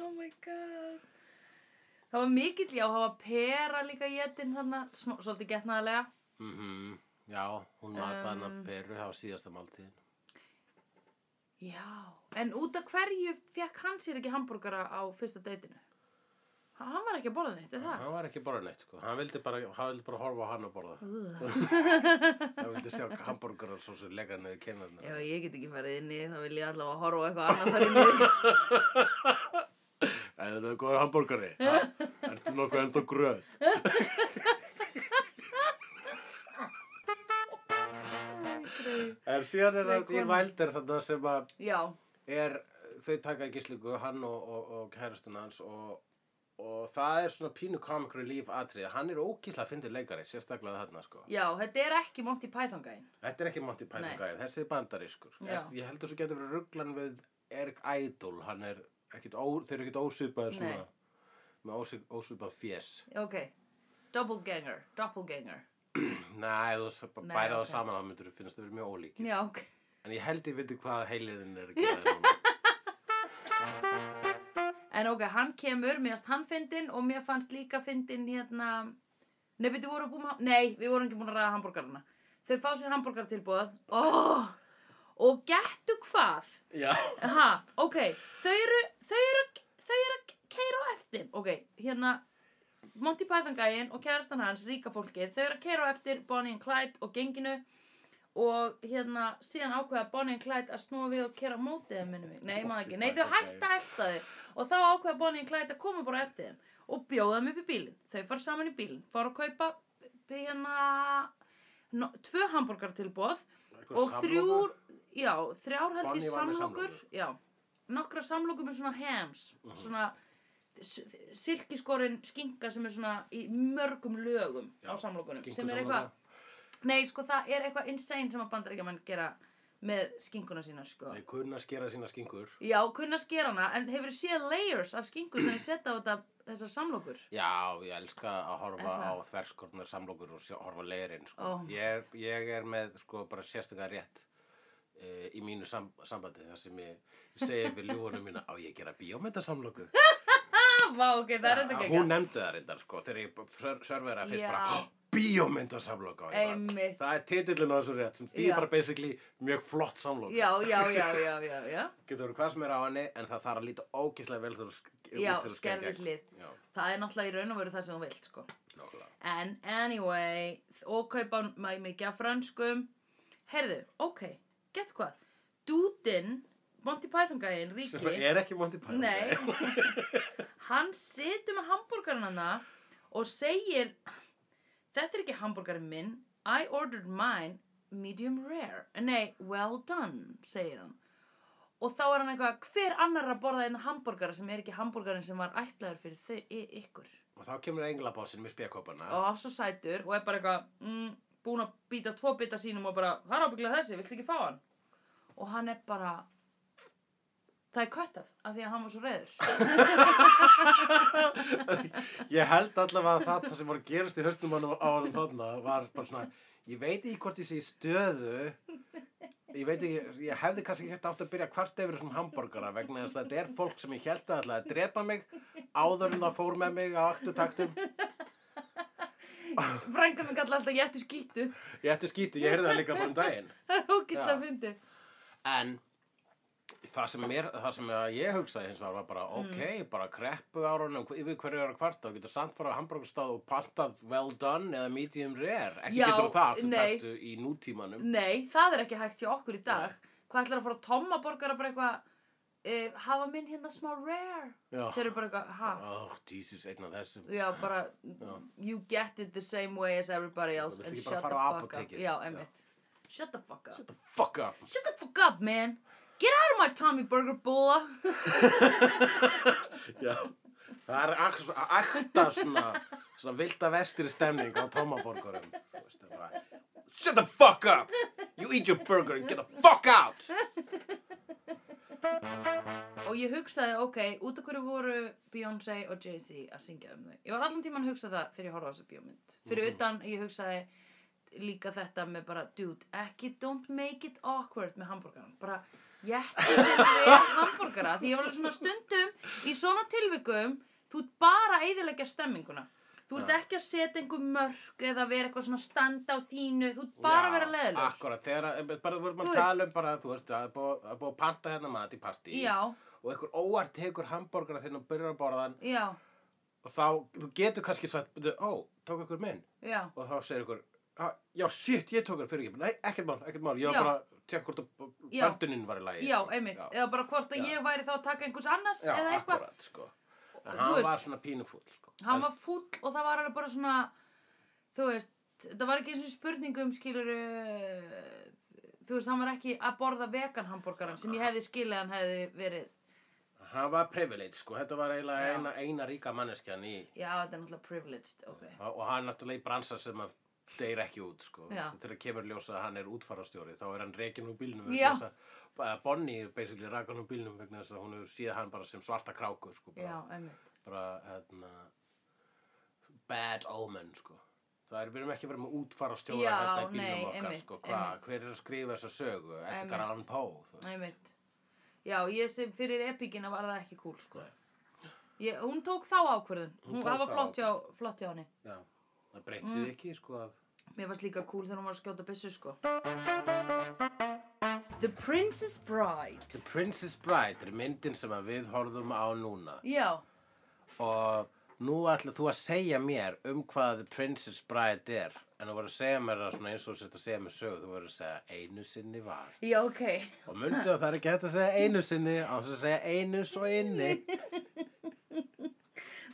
oh my god. Það var mikill, já, það var pera líka getinn þarna, smá, svolítið getnaðarlega.
mhm, já, hún mataði hann af
Um.
peru á síðasta máltíðin
Já, en út af hverju fekk hann sér ekki hambúrgara á fyrsta deytinu? Ha- Hann var ekki að borða neitt, er það?
hann var ekki bara neitt, sko, hann vildi bara hann vildi bara horfa á hann og borða
Ugh.
hann vildi sjá hambúrgarar svo sem leggja niður
Já,
kennarnar
ég get ekki farið inni, þá vil ég allavega horfa á eitthvað annað þar inni.
er þetta góður hambúrgari? Ha? ertu nokkuð ennþá gröð? en síðan er
Nei,
það í
kona.
vældir þarna sem að
Já,
er þau taka í gíslingu hann og, og, og kærastun hans og, og það er svona pínu comic relief atrið hann er ógísla að fyndi leikari sérstaklega þarna sko
já, þetta er ekki Monty Python gæinn.
þetta er ekki Monty Python
Nei.
gæri þessi er bandarískur
Já.
Er- ég heldur svo getur verið rugglan við Eric Idol hann er ekkit ó, þeir eru ekkit ósvipaðir svona
Nei.
með ósvip, ósvipað fjés
Ok, doppelganger, doppelganger.
næ þú s- bara
Nei,
bæra það
ok.
saman þá myndur þú finnast það verið mjög ólík
Já, ok.
en ég held ég viti hvað heiliðin er að gera þér núna
En ok, hann kemur, mér fannst hann fyndin og mér fannst líka fyndin hérna... Nei, við vorum búin að... Nei, við vorum ekki búin að ræða hambúrgarana. Þau fá sér hambúrgartilbúð. Oh, og gettu hvað?
Já.
Ha, ok, þau eru, þau eru, þau eru að keira á eftir. Ok, hérna... Monty Python gæinn og kærastan hans, ríka fólkið, þau eru að keira á eftir Bonnie and Clyde og genginu og hérna síðan ákveða Bonnie and Clyde að snúa við og kera mótið þeim minnum mig. Nei, ég maður ekki. Nei, þau
Monty Python
hætta að elta þau og þá ákveða Bonnie and Clyde að koma bara eftir þeim og bjóða þeim upp í bílinn. Þau fara saman í bílinn, fara að kaupa b- hérna no, tvö hambúrgartilbóð
Einhver
og þrjú,
samloka?
já, þrjár held
Bonnie
ég
var með
samlokur,
samlokur.
já, nokkra samlokur með svona hams,
Mhm.
svona s- silkiskorinn skinka sem er svona í mörgum lögum
Já,
á samlokunum,
Gengur
sem er
samloka?
eitthvað, nei sko það er eitthvað insane sem að bandaríkjaman gera með skinkuna sína sko.
Þau kunna að skera sína skingur.
Já, kunna skera hana, en hefur séð layers af skinku sem ég setja á þetta, þessar samlokur?
Já, ég elska að horfa
Er
á
það?
þverskornar samlokur og sjá, horfa á leirinn. Sko.
Oh my
ég, ég er með sko, bara sérstaklega rétt uh, í mínu sam sambandi þar sem ég segi við ljúanum mína á ég að gera bíómyndasamloku.
Ah, vá, ok, það er þetta ekki
Hún nefndi það reyndar sko, þegar ég sörfið það fyrst
Já.
bara "Hó, bíómyndasamloka. og ég bara,
Einmitt.
Það er titillin á þessu rétt sem því
Já.
er bara basically mjög flott samloka.
Já, já, já, já, já, já.
Getur verið hvað sem er á henni en það þarf að líta ógeðslega vel þegar þú sk-
Já,
þegar þú sker
skerði
gegn.
hlið.
Já,
Það er náttúrulega í raun og veru það sem hún vilt, sko.
nákvæmlega.
En anyway, og kaupa mæ mikið af franskum. Herðu, ok, gett hvað. Dúdinn, Monty Python gæinn, Ríki.
Sem er ekki Monty Python.
Nei. hann situr með hambúrgarinn hana og segir þetta er ekki hambúrgarinn minn I ordered mine medium rare nei, well done, segir hann og þá er hann eitthvað hver annar er að borða einn hambúrgara sem er ekki hambúrgarinn sem var ætlaður fyrir þau, y- ykkur
Og þá kemur englabossin með spekopana.
og hann er svo sætur og er bara eitthvað mm, búin að býta tvo bita sínum og bara það er ábygglega þessi, viltu ekki fá hann og hann er bara það er köttað af því að hann var svo reyður
Ég held allavega að það- það sem var að gerast í höstum hann á hann þarna var bara svona, ég veit ekki hvort ég sé í stöðu, ég veit ekki, ég hefði kannski ekki átt að byrja hvart yfir þessum hambúrgara vegna þess að þetta er fólk sem ég held að ætlaði að drepa mig áður en það fór með mig á aktutaktum.
Frænka minn kallar alltaf jættu skýttu.
Ég ætti skýtu, ég heyrði það líka bara um daginn.
Það er ógislega
Já.
fyndi.
En það sem, mér, það sem að ég hugsaði hins vegar var bara
Mm.
ok, bara kreppu árunum yfir hverju er að kvarta og getur samt fara á hambúrgarstað og pantað well done eða medium rare ekki
Já,
getur það aftur
nei.
taktu í nútímanum
Nei, það er ekki hægt hjá okkur í dag. Hvað ætlar að fara að tomma borgara bara eitthvað, uh, hafa minn hérna smá rare. Þeir
Já,
eru bara eitthvað, ha?
oh Jesus, einn af þessum
Já, bara, you get it the same way as everybody else
Þú
and
vilt ekki
shut
bara
the
fara á
fuck up.
apótekið.
Já, emitt. Shut the fuck up.
Fuck up
Shut the fuck up, man. Get out of my Tommy Burger búla.
Já. Það er ak- svona- akta svona, svona vilda vestri stemning á tómaborgurum Shut the fuck up You eat your burger and get the fuck out
Og ég hugsaði, ok, út af hverju voru Beyoncé og Jay-Z að syngja um þau. Ég var allan tíman að hugsa það fyrir að horfa á þessu bjómynd. Fyrir
Mhm.
utan, ég hugsaði líka þetta með bara, dude, ekki don't make it awkward með hambúrgaran. Bara, jætti þér vel hambúrgara. Því ég var alveg svona stundum í svona tilvikum, þú ert bara að eyðileggja stemminguna. Þú ert
Já.
ekki að setja einhver mörk eða vera eitthvað svona standa á þínu. Þú ert bara að vera leðilegur.
Akkurat, þegar að, einmitt, bara vorum
Þú
að
veist.
tala um bara, þú veist, að búa að búa að panta hérna mat í partí
Já,
og einhver óvart tekur hambúrgara þegar þú byrjar að borða hann
já,
og þá, þú getur kannski sagt, "Bíddu, ó, tók einhver minn
já.
og þá segir einhver, "Ah, já, shit, ég tók hann fyrir ekki, nei, ekkert mál, ekkert mál, ég
Já.
var bara að tjekka hvort að
Já.
banduninn var í lagi. sko.
Já, einmitt,
Já,
eða bara hvort að
Já.
ég væri þá að taka einhvers annars
já
eða eitthvað.
akkurat, sko. En
Þú
hann
veist-
var svona pínufúll, sko.
Hann var fúll og það var alveg bara svona, þú veist, það var ekki eins og spurningum skilur, þú veist, hann var ekki að borða vegan hambúrgaran sem ég hefði skilið að hann hefði verið.
Hann var privilege, sko, þetta var eiginlega
Já.
eina, eina ríka manneskjan í
Já, þetta er náttúrulega privileged, ok.
og og hann náttúrulega í bransa sem að deyr ekki út sko.
Já.
Svo þegar kemur ljósa að hann er útfarastjóri þá er hann rekin úr bílnum
Já.
vegna þess að- að Bonnie er basically rakan úr bílnum vegna þess að hún hefur séð hann bara sem svarta kráku sko,
Já,
bara,
einmitt.
bara hérna, bad omen sko. það er við erum ekki að vera með útfarastjóra
Já,
hérna í bílnum
nei,
okkar
einmitt,
sko. Hva,
einmitt.
hver er að skrifa þessa sögu
Einmitt.
Edgar Allan Poe þú veist.
Einmitt. Já, ég sem fyrir epíkina var það ekki cool, sko.
Nei.
Ég, hún tók þá ákvörðun.
Hún
Hún,
tók
það var
þá
flott hjá, flott hjá henni.
Já, það breytið
Mm.
ekki, sko, að...
Mér varst líka cool þegar hún var að skjóta byssu, sko. The Princess Bride.
The Princess Bride er myndin sem að við horfum á núna.
Já,
Og nú ætla þú að segja mér um hvað The Princess Bride er. En þú voru að segja mér það svona eins og þú sett að segja mér sögu. Þú voru að segja einu sinni var.
já, ok.
Og mundu að það er ekki hægt að segja einu sinni á þess að segja einu svo inni.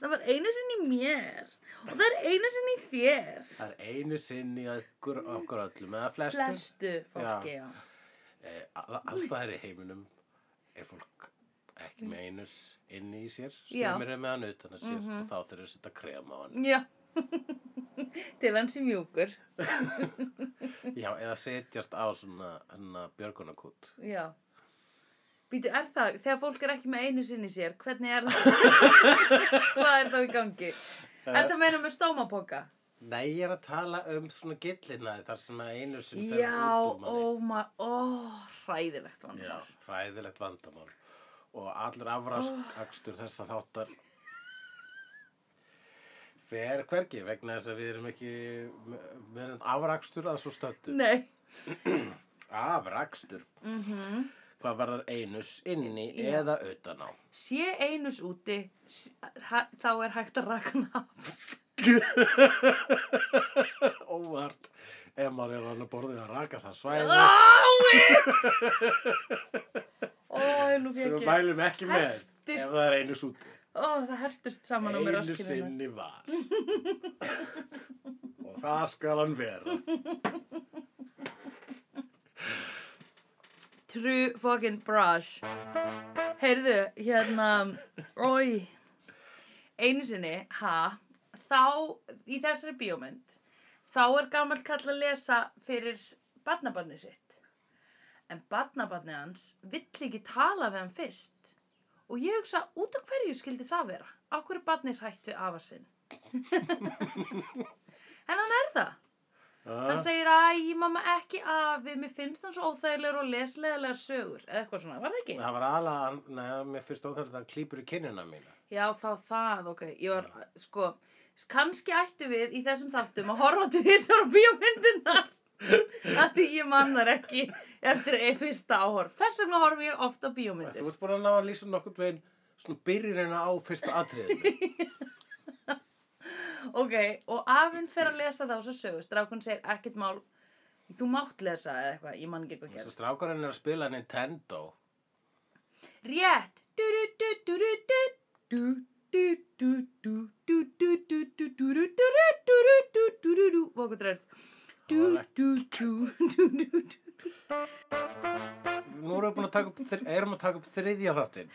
Það var einu sinni í mér og það er einu sinni í þér.
Það er einu sinni í okkur, okkur öllum eða flestum.
Flestu fólki, já.
Eh, all- alls staðar í heiminum er fólk ekki með einus inni í sér
Já.
sem eru með hann utan að sér
Mhm.
og þá þurfum við að setja krem á hann
Já. Til hans í mjúkur.
já, eða setjast á svona hennar björgunarkút
Já. Býtu, er það, þegar fólk er ekki með einu sinni í sér, hvernig er það? Hvað er þá í gangi? Er það meina með stómapoka?
nei, ég er að tala um svona gillinaði þar sem að einu sem fer
Já,
út um úr manni
ó, ma, ó, hræðilegt vann.
já, hræðilegt vandamál og allur afrakstur þessa þáttar fer hvergi vegna þess að við erum ekki við erum afrakstur að svo stöttu
Nei.
afrakstur
Mm
hvað varðar einus inni
Já.
eða utan á.
Sé einus úti, s- ha- þá er hægt að rakna af.
Óvart, ef maður er alveg borðið að raka það svæði
Ah! Ái! Ó, nú
sem
fekk
við
ég.
mælum ekki með ef
Hertist.
það er einus úti.
Ó, það hertust saman á mér
Einu
raskinnina.
sinni var. Og þar skal hann vera.
True fucking brush. Heyrðu, hérna, oi. Einu sinni, ha, þá, í þessari bíómynd, þá er gamall kall að lesa fyrir s- barnabarnið sitt. En barnabarnið hans vill ekki tala við hann fyrst. Og ég hugsa, út af hverju skildi það vera? Akkur er barnið hrætt við afa sinn? en hann er það.
Ah.
Hann segir, æ, mamma, ekki afi, mér finnst hann svo óþægilegur og leslegilegar sögur. Eða eitthvað svona, var það ekki?
Það var alveg, neða, mér finnst óþægilegt að hann klýpur í kinnina mína.
Já, þá það, ok. Ég var, sko, kannski ættu við í þessum þáttum að horfa til þessar bíómyndunar. Af því ég man þar ekki eftir e- fyrsta áhorf. Þess vegna horf ég oft á
Þú
bíómyndir.
ert búin að ná að lýsa nokkurn veginn svona byrjunina á fyrsta atriðinu.
Ok, og afinn fer að lesa þá svo sögur. Strákun segir, ekkert mál, þú mátt lesa eða eitthvað, ég man ekki eitthvað
Þess að
gerst.
strákarinn er að spila Nintendo.
Rétt! Vókundræð
Nú erum við búin að taka upp, þri, erum að taka upp þriðja þáttinn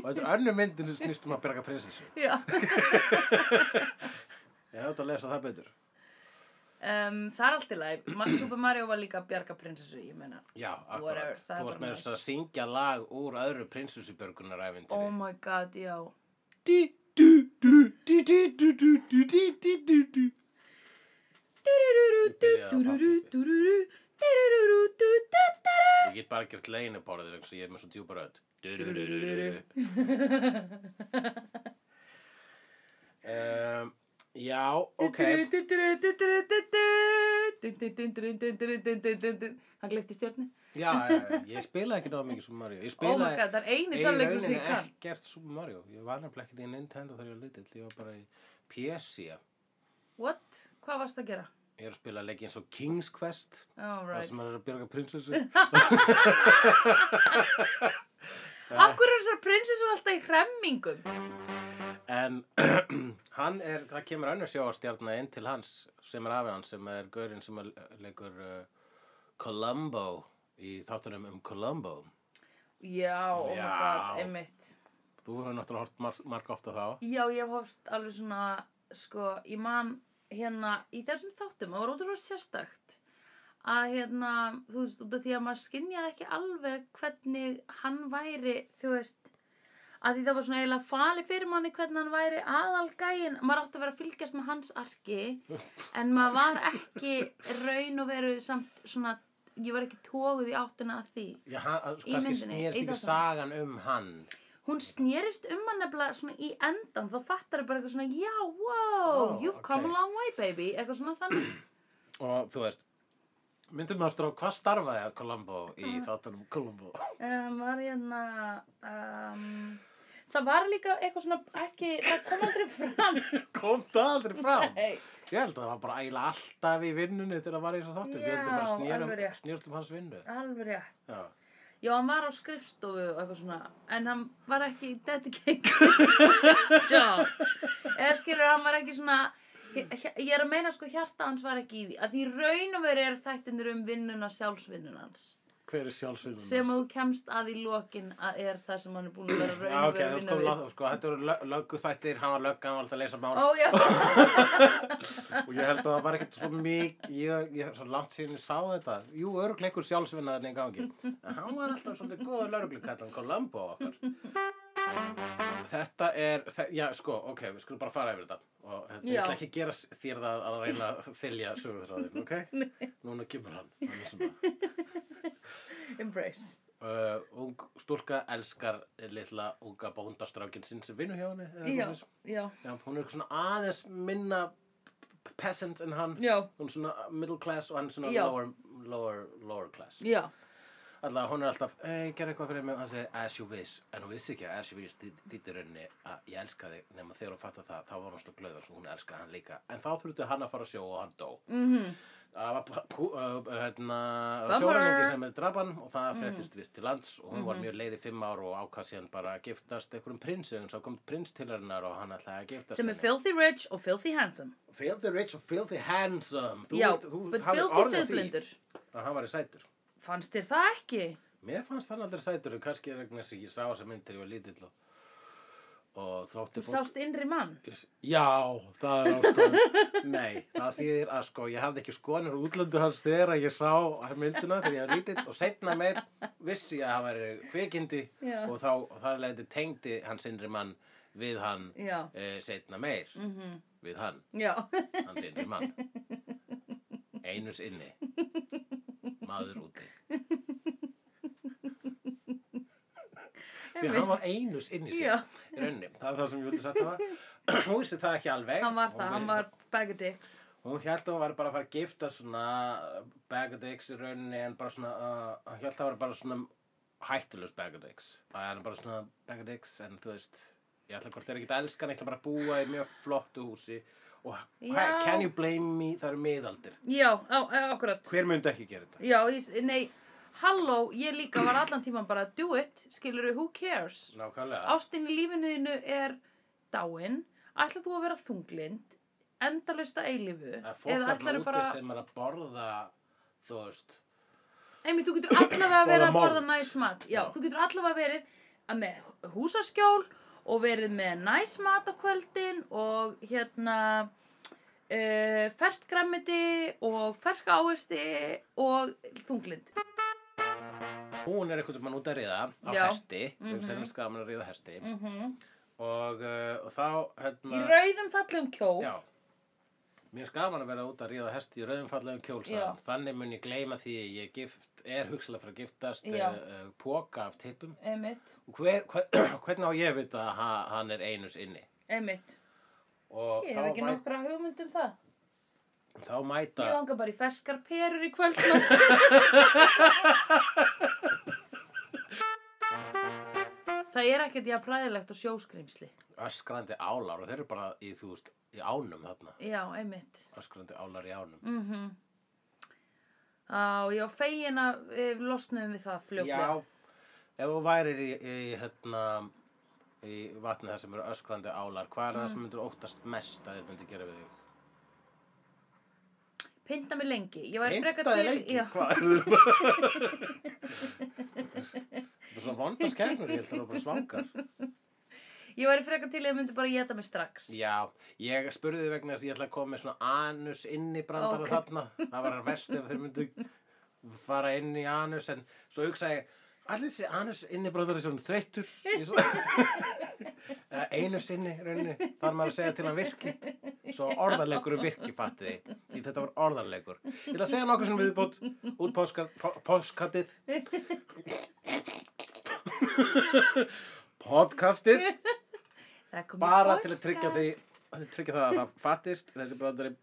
og þetta er önnur myndin sem snýst um að berga prinsessu.
Já
Ég hef þetta að lesa það betur.
um, Það er allt í lagi Ma- Super Mario var líka að bjarga prinsessu Ég meina
Já,
Whatever,
akkurat.
það er
Þú varst
bara
með þess að
nice.
syngja lag úr öðru prinsessubjörgunaræfintri.
Oh my god, já
Dí, dú, dú, dí, dí, dú, dú, dú, dí, dí, dú, dú. Ég get bara gert leinuborðið vegna þess að ég er með svo djúpa rödd. Dú, dú, dú, dú, dú. Um, Já, ok.
Hann gleypti stjórni
Já, já, já, ég spilaði ekki náða mikið Super Mario. Ég
Oh my
spilaði
god, það er eini
Ég
tannleikur sem ég
rauninni
kann
ekkert Super Mario. Ég var nefnilega ekkert í Nintendo þegar ég var litill. Ég var bara í PC.
What? Hvað varst að gera?
Ég er að spila leiki eins og King's Quest.
All
Það
right
sem er að björga prinsessu.
Akkur er þessar prinsessur alltaf í hremmingum
En hann er, það kemur önnur sjóastjarnar inn til hans sem er afið hans sem er gaurinn sem er, leikur uh, Columbo í þáttunum um Columbo.
Já, oh my god,
Já.
einmitt
Þú hefur náttúrulega hort mar marga ofta þá.
Já, ég hef hóft alveg svona, sko, ég man hérna í þessum þáttum, það var ótrúlega sérstakt að hérna, þú veist, út af því að maður skynjaði ekki alveg hvernig hann væri, þú veist, að því það var svona eiginlega fali fyrir manni hvernig hann væri aðalgæin, maður átti að vera að fylgjast með hans arki, en maður var ekki raun og veru samt svona, ég var ekki tóguð í áttina að því.
Já, hann,
Í
kannski
myndinni,
snýrst
í
ekki
þáttunum.
sagan um hann.
hún snerist um hann nefnilega svona í endan þá fattar þau bara eitthvað svona já, wow,
Oh,
you've come a
ok.
long way baby eitthvað svona þannig
Og þú veist, myndum við aftur á hvað starfaði að Columbo í þáttunum Columbo?
um, var hérna um, það var líka eitthvað svona ekki, það kom aldrei fram
Kom það aldrei fram?
Nei.
Ég held að það var bara ægilega alltaf í vinnunni þegar það var í þessu þáttum. Ég held að
Já,
bara snérum,
alveg rétt.
snérum um hans vinnu.
alveg rétt
Já.
já, hann var á skrifstofu og eitthvað svona en hann var ekki dedicated to his job eða skilur, hann var ekki svona ég, ég er að meina sko hjarta hans var ekki í því að því raun og veru er þættinir um vinnuna sjálfsvinnuna hans
Hver er sjálfsvinnun?
sem að þú kemst að í lokin að er það sem hann er búin að vera
Já,
raun og
ok,
vera að
þú
vinna
kom
við
látt, sko, þetta eru lö- lögguþættir, hann var lögga, hann var alltaf að leysa mál
ó já,
og ég held að það var ekkert svo mikið, ég, ég svo langt síðan ég sá þetta, jú, örugleikur sjálfsvinna þarna í gangi, en hann var alltaf svolítið góða lögreglukallan Columbo okkar. Þetta er, þe- já, sko, ok, við skulum bara fara yfir þetta og hérna, ég
Já.
ætla ekki að gera s- þér það að reyna að þylja sögurþráðin, ok? Núna kemur hann, hann er sem það.
embrace
Uh, ung stúlka elskar litla unga bóndastrákin sinn sem vinnu hjá henni. eða eitthvað
já,
svoleiðis.
já,
Já, hún er svona aðeins minna p- peasant en hann.
já,
Hún er svona middle class og hann er svona
Já.
lower, lower, lower class.
já
Alltaf, hún er alltaf, ei, gerð eitthvað fyrir mig og hann segir, as you wish. En hún vissi ekki að as you wish þý- þýddi í rauninni að ég elska þig nema þegar hún fattar það, þá var hún slúk glöð og svo hún elskaði hann líka. En þá þurfti hann að fara að sjó og hann dó.
mhm
Það var pú- pú- uh, hérna,
Bummer.
sjórenningi sem er drapan og það
Mhm.
fréttist vist til lands og hún var
Mhm.
mjög leið í fimm ár og ákvað síðan bara að giftast einhverjum prinsi og svo kom prins til hennar og hann ætlaði að giftast
sem er
henni.
filthy rich og filthy handsome
Filthy rich og filthy handsome
já,
ert-
but
hafir orð
filthy
á því
siðblindur
Að hann var í sætur
fannst þér það ekki?
Mér fannst hann aldrei sætur en kannski er vegna þess að ég sá þessa mynd þegar ég var lítill og, og þótti
þú sást innri mann
Já, það er áskoðan Nei, það þýðir að sko ég hafði ekki skoðanir útlöndu hans þegar að ég sá myndina þegar ég var lítill og setna meir vissi ég að hann væri kvikindi
já,
og þá og þar leiti tengdi hans innri mann við hann
já,
e, setna meir
mhm
við hann
já,
hans innri mann einus inni maður úti því að hann var einus inni sér
já
í rauninni, það er það sem ég vildi sagt það hún vissi það ekki alveg
hann var
Hún-
það, hann var bag of dicks
hún held að hún var bara að fara að gifta svona bag of dicks í rauninni en bara svona, uh, hann held að það var bara svona hættulegs bag of dicks það er bara svona bag of dicks en þú veist ég ætla hvort þeir ekki að elska hann, ég ætla bara að búa í mjög flottu húsi og
Já.
can you blame me, það eru miðaldir
já, á, á, akkurat
hver myndi ekki gera þetta?
já, ég, s- nei, halló ég líka var allan tíman bara do it skilur who cares
Nákvæmlega,
Ástin í lífinu þínu er dáin, ætlað þú að vera þunglind, endalust að eilifu,
það er fólk alltaf
ætlarðu
úti
bara,
sem er að borða þú veist
einmitt, þú getur allavega að vera
Borða
að
mold.
borða næs mat,
Já.
já, þú getur allavega verið að með húsaskjól og verið með næs mat á kvöldin og hérna uh, fersk græmiti og ferska ávisti og þunglind.
Hún er einhvern veginn út að ríða á
Já.
hesti, mm
Mhm.
-hmm. sem er skaman að ríða hesti
Mm
og, uh, og þá, hérna,
Í rauðum fallegum kjól,
já, mér er skaman að vera út að ríða á hesti í rauðum fallegum kjólsaðan, þannig mun ég gleyma því að ég er gift, er hugsalega fyrir að giftast
Já.
uh, uh, póka af tippum
einmitt,
og hver, hver, hvernig á ég að vita að ha- hann er einus inni
einmitt.
og
Ég
þá,
hef ekki
mæt,
nokkra hugmynd um það.
þá mæta,
Ég langar bara í ferskar perur í kvöldmatt. það er ekkert jafn præðilegt og sjóskrýmsli.
öskrandi álar og þeir eru bara í, þú veist, í ánum þarna,
Já, einmitt.
öskrandi álar í ánum.
Mm -hmm. Á, já, fegin að við losnum við það fljóklega.
Já, ef þú værir í, í, hérna, í vatni þar sem eru öskrandi álar, hvað er það
Mm.
sem myndur óttast mest að þið myndir gera við þig?
Pinta mig lengi. Ég væri frekar
Heimtaði
til-
lengi,
Já,
hvað er þið bara? Þetta er svona vondast kernur, ég held að það er bara svangar.
ég væri frekar til að myndi bara geta mig strax.
Já, ég spurði þig vegna þess að ég ætla að koma með svona anus inn í brandara
Ok.
þarna. Það var verst ef þeir myndu fara inn í anus, en svo hugsaði ég, allir þessi anus inni brandari svona þreyttur. Ég Svo, Eða einu sinni, rauninni, þarf maður að segja til hann virki. Svo orðarleikur um virki, fatti þið. Því þetta var orðarleikur. Ég ætla að segja nokkuð sem viðbót út póskat- po- póskatið. podcastið
Það er komið
bara til
forskot.
að tryggja því tryggja það að það fattist þessi bröndari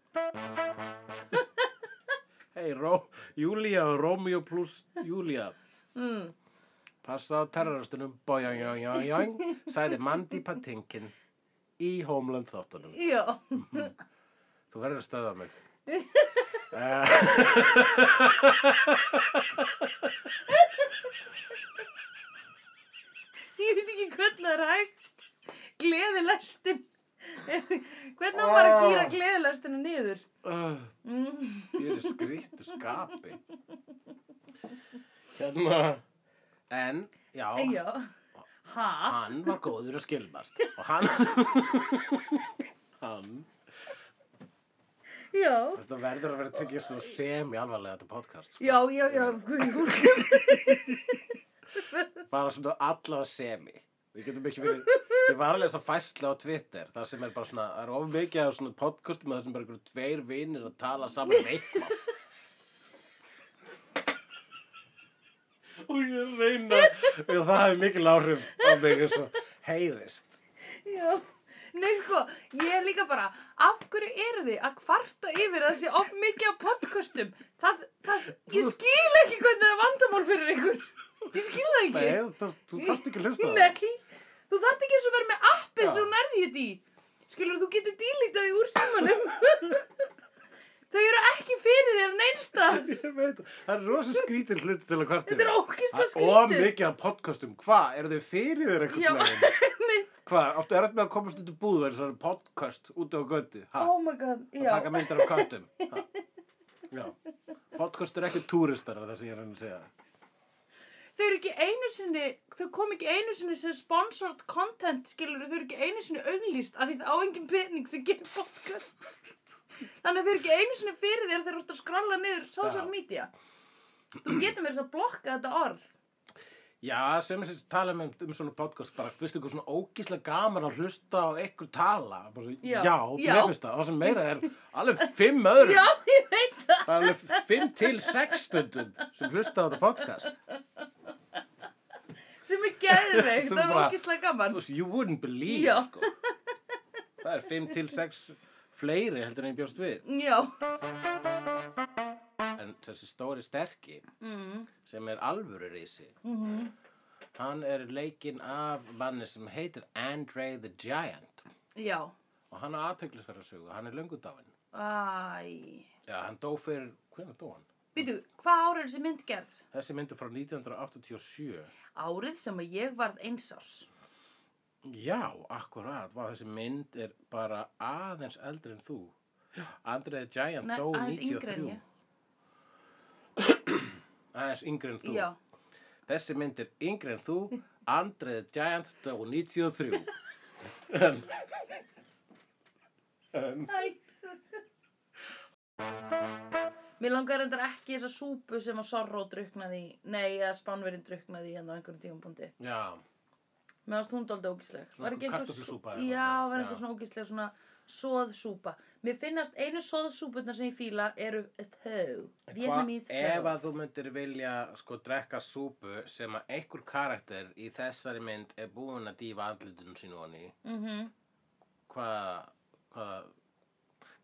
hei Ró Júlía og Rómíu pluss Júlía
Mm.
passa á terroristunum bojangjangjang sagði Mandy Patinkin í Homeland þáttunum
Já.
þú verður að stöða mig Eh,
Ég veit ekki hvernig það er hægt. Gleðilestin. hvernig á maður að gýra
Ah.
gleðilestina niður?
uh,
Mm.
fyrir skrítu skapi hérna en já
Já. Ha?
hann var góður að skilmast og hann hann
Já.
Þetta verður að vera tekið svo semi alvarlega þetta podcast. sko.
Já, já, já. guð.
Bara svona allavega semi. Við getum ekki verið, ég var alveg svo fæsla á Twitter, það sem er bara svona, það er of mikið af svona podcastum að það sem bara einhverjum tveir vinir að tala saman um eitthvað. Og ég reyna, og það hefur mikil áhrif á mig eins og heyrist.
Já. Nei sko, ég er líka bara, af hverju eru þið að kvarta yfir þessi of mikið af podcastum? Það, það, ég skil ekki hvernig það er vandamál fyrir ykkur. Ég skil það ekki.
Nei, það, þú þarft ekki að hlusta á það.
Nei, þú þarft ekki eins og vera með appið
Já.
sem þú nærði þetta í. Skilur, þú getur dílítið því úr samanum. Þau eru ekki fyrir þér neinstar.
Ég veit, það. það er rosa skrítin hluti til að kvartir.
Þetta er ógeðslega
Og
skrítið.
mikið af podcastum, hvað, eru þau fyrir þér
Já.
einhvern veginn?
Mitt,
Hvað, áttu erönd með að komast út í búð og þessar podcast út á götu? Ha,
oh my god,
að
já.
taka myndir af köttum. Ha. Já, podcast er ekki túristar það sem ég er að reyna að segja.
Þau eru ekki einu sinni, þau kom ekki einu sinni sem sponsored content, skilur, þau eru ekki einu sinni auglýst af því það á engin pening sem gerir podcast. Þannig að þau eru ekki einu sinni fyrir þér þegar þú ert að skralla niður social
Já.
media. Þú getur mér þess að blokka þetta orð.
Já, sem sem tala um, um svona podcast bara, finnst ykkur svona ógíslega gaman að hlusta á ykkur tala. Bara, svo,
Já.
já,
Já.
mér finnst það. Og sem meira er alveg fimm öðrum.
Já, ég veit það.
Það er alveg fimm til sex stundum sem hlusta á þetta podcast.
sem er geðveikt,
Sem
það er
bara-
ógislega gaman
Þú- You wouldn't believe,
Já.
sko. Það er 5 til 6 fleiri heldur en ég bjóst við.
já
En þessi stóri sterki
mm.
sem er alvöru risi,
Mm
hann er leikinn af manni sem heitir Andre the Giant.
já
Og hann er aðteglisverða sögu, hann er löngudáinn.
æ
Já, hann dó fyrir, hvernig dó hann?
býtu, hvað árið er þessi mynd gerð?
Þessi myndi frá 1987.
árið sem að ég varð einsás
Já, akkurat, vá, þessi mynd er bara aðeins eldri en þú. Andre the Giant
Nei,
dó
aðeins yngri en
93.
ég.
aðeins yngri en þú.
já,
Þessi mynd er yngri en þú, Andre the Giant dó 93. en, en,
æ Mér langar endur ekki í þessa súpu sem að Sorro druknaði í, nei, að Spánverinn druknaði í hérna á einhverjum tímapunkti.
já,
Mér varst hún dálítið ógísleg.
Svona einhver
sú-
kartöflusúpa eða
Já,
eitthvað.
var einhver
Já.
svona ógísleg svona soðsúpa. Mér finnast einu soðsúpurnar sem ég fíla eru þau.
En
Vietnamese
hvað ef
þau.
að þú myndir vilja sko drekka súpu sem að einhver karakter í þessari mynd er búinn að dýfa andlutunum sínu honni,
Mhm.
hvað, hvað,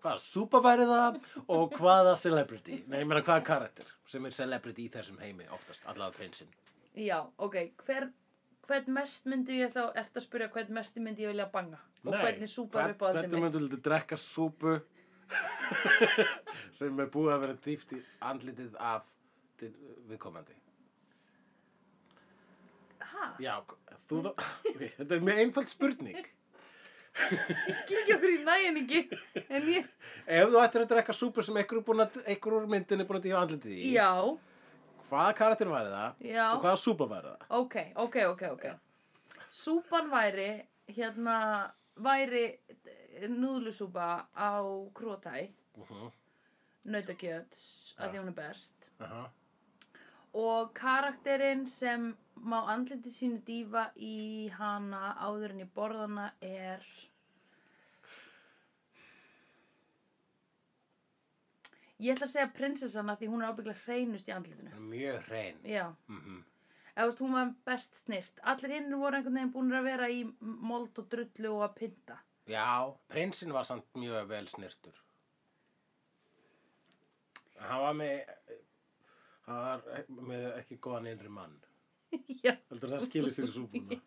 hvaða súpa væri það og hvaða celebrity, nei, ég meina hvaða karakter sem er celebrity í þessum heimi oftast, allavega prinsinn.
Já, ok. Hver, hvern mest myndi ég þá, ert að spyrja hvern mest myndi ég vilja banga? Og
Nei,
hvernig súpa er
hvern-
upp á aldrei
Hvernig
mitt?
myndur þú drekka súpu sem er búið að vera dýft í andlitið af til viðkomandi?
Hæ?
Já, þú þá, þetta er mjög einfald spurning.
Ég skil ekki okkur í næjan ekki. En ég,
Ef þú ættir að drekka súpu sem einhver, er búinn að, einhver úr myndinni er búin að dýfa andlitið í,
já,
hvaða karakter væri það
já.
og hvaða súpa væri það?
Ok, ok, ok, ok. Súpan væri, hérna, væri eh, núðlusúpa á krótæ,
Uh -huh.
nautakjöts,
Já.
að því hún er best. Og karakterinn sem má andliti sínu dýfa í hana áður en í borðana er... Ég ætla að segja prinsessana því hún er ábygglega hreinust í andlitinu.
Mjög hrein.
Já,
Mm -hmm.
eða þú veist, hún var best snirt allir hinn voru einhvern veginn búin að vera í mold og drullu og að pynta
Já, prinsinn var samt mjög vel snirtur. Hann var með, hann var með ekki góðan innri mann.
já,
Heldur það skilir sér í súpuna.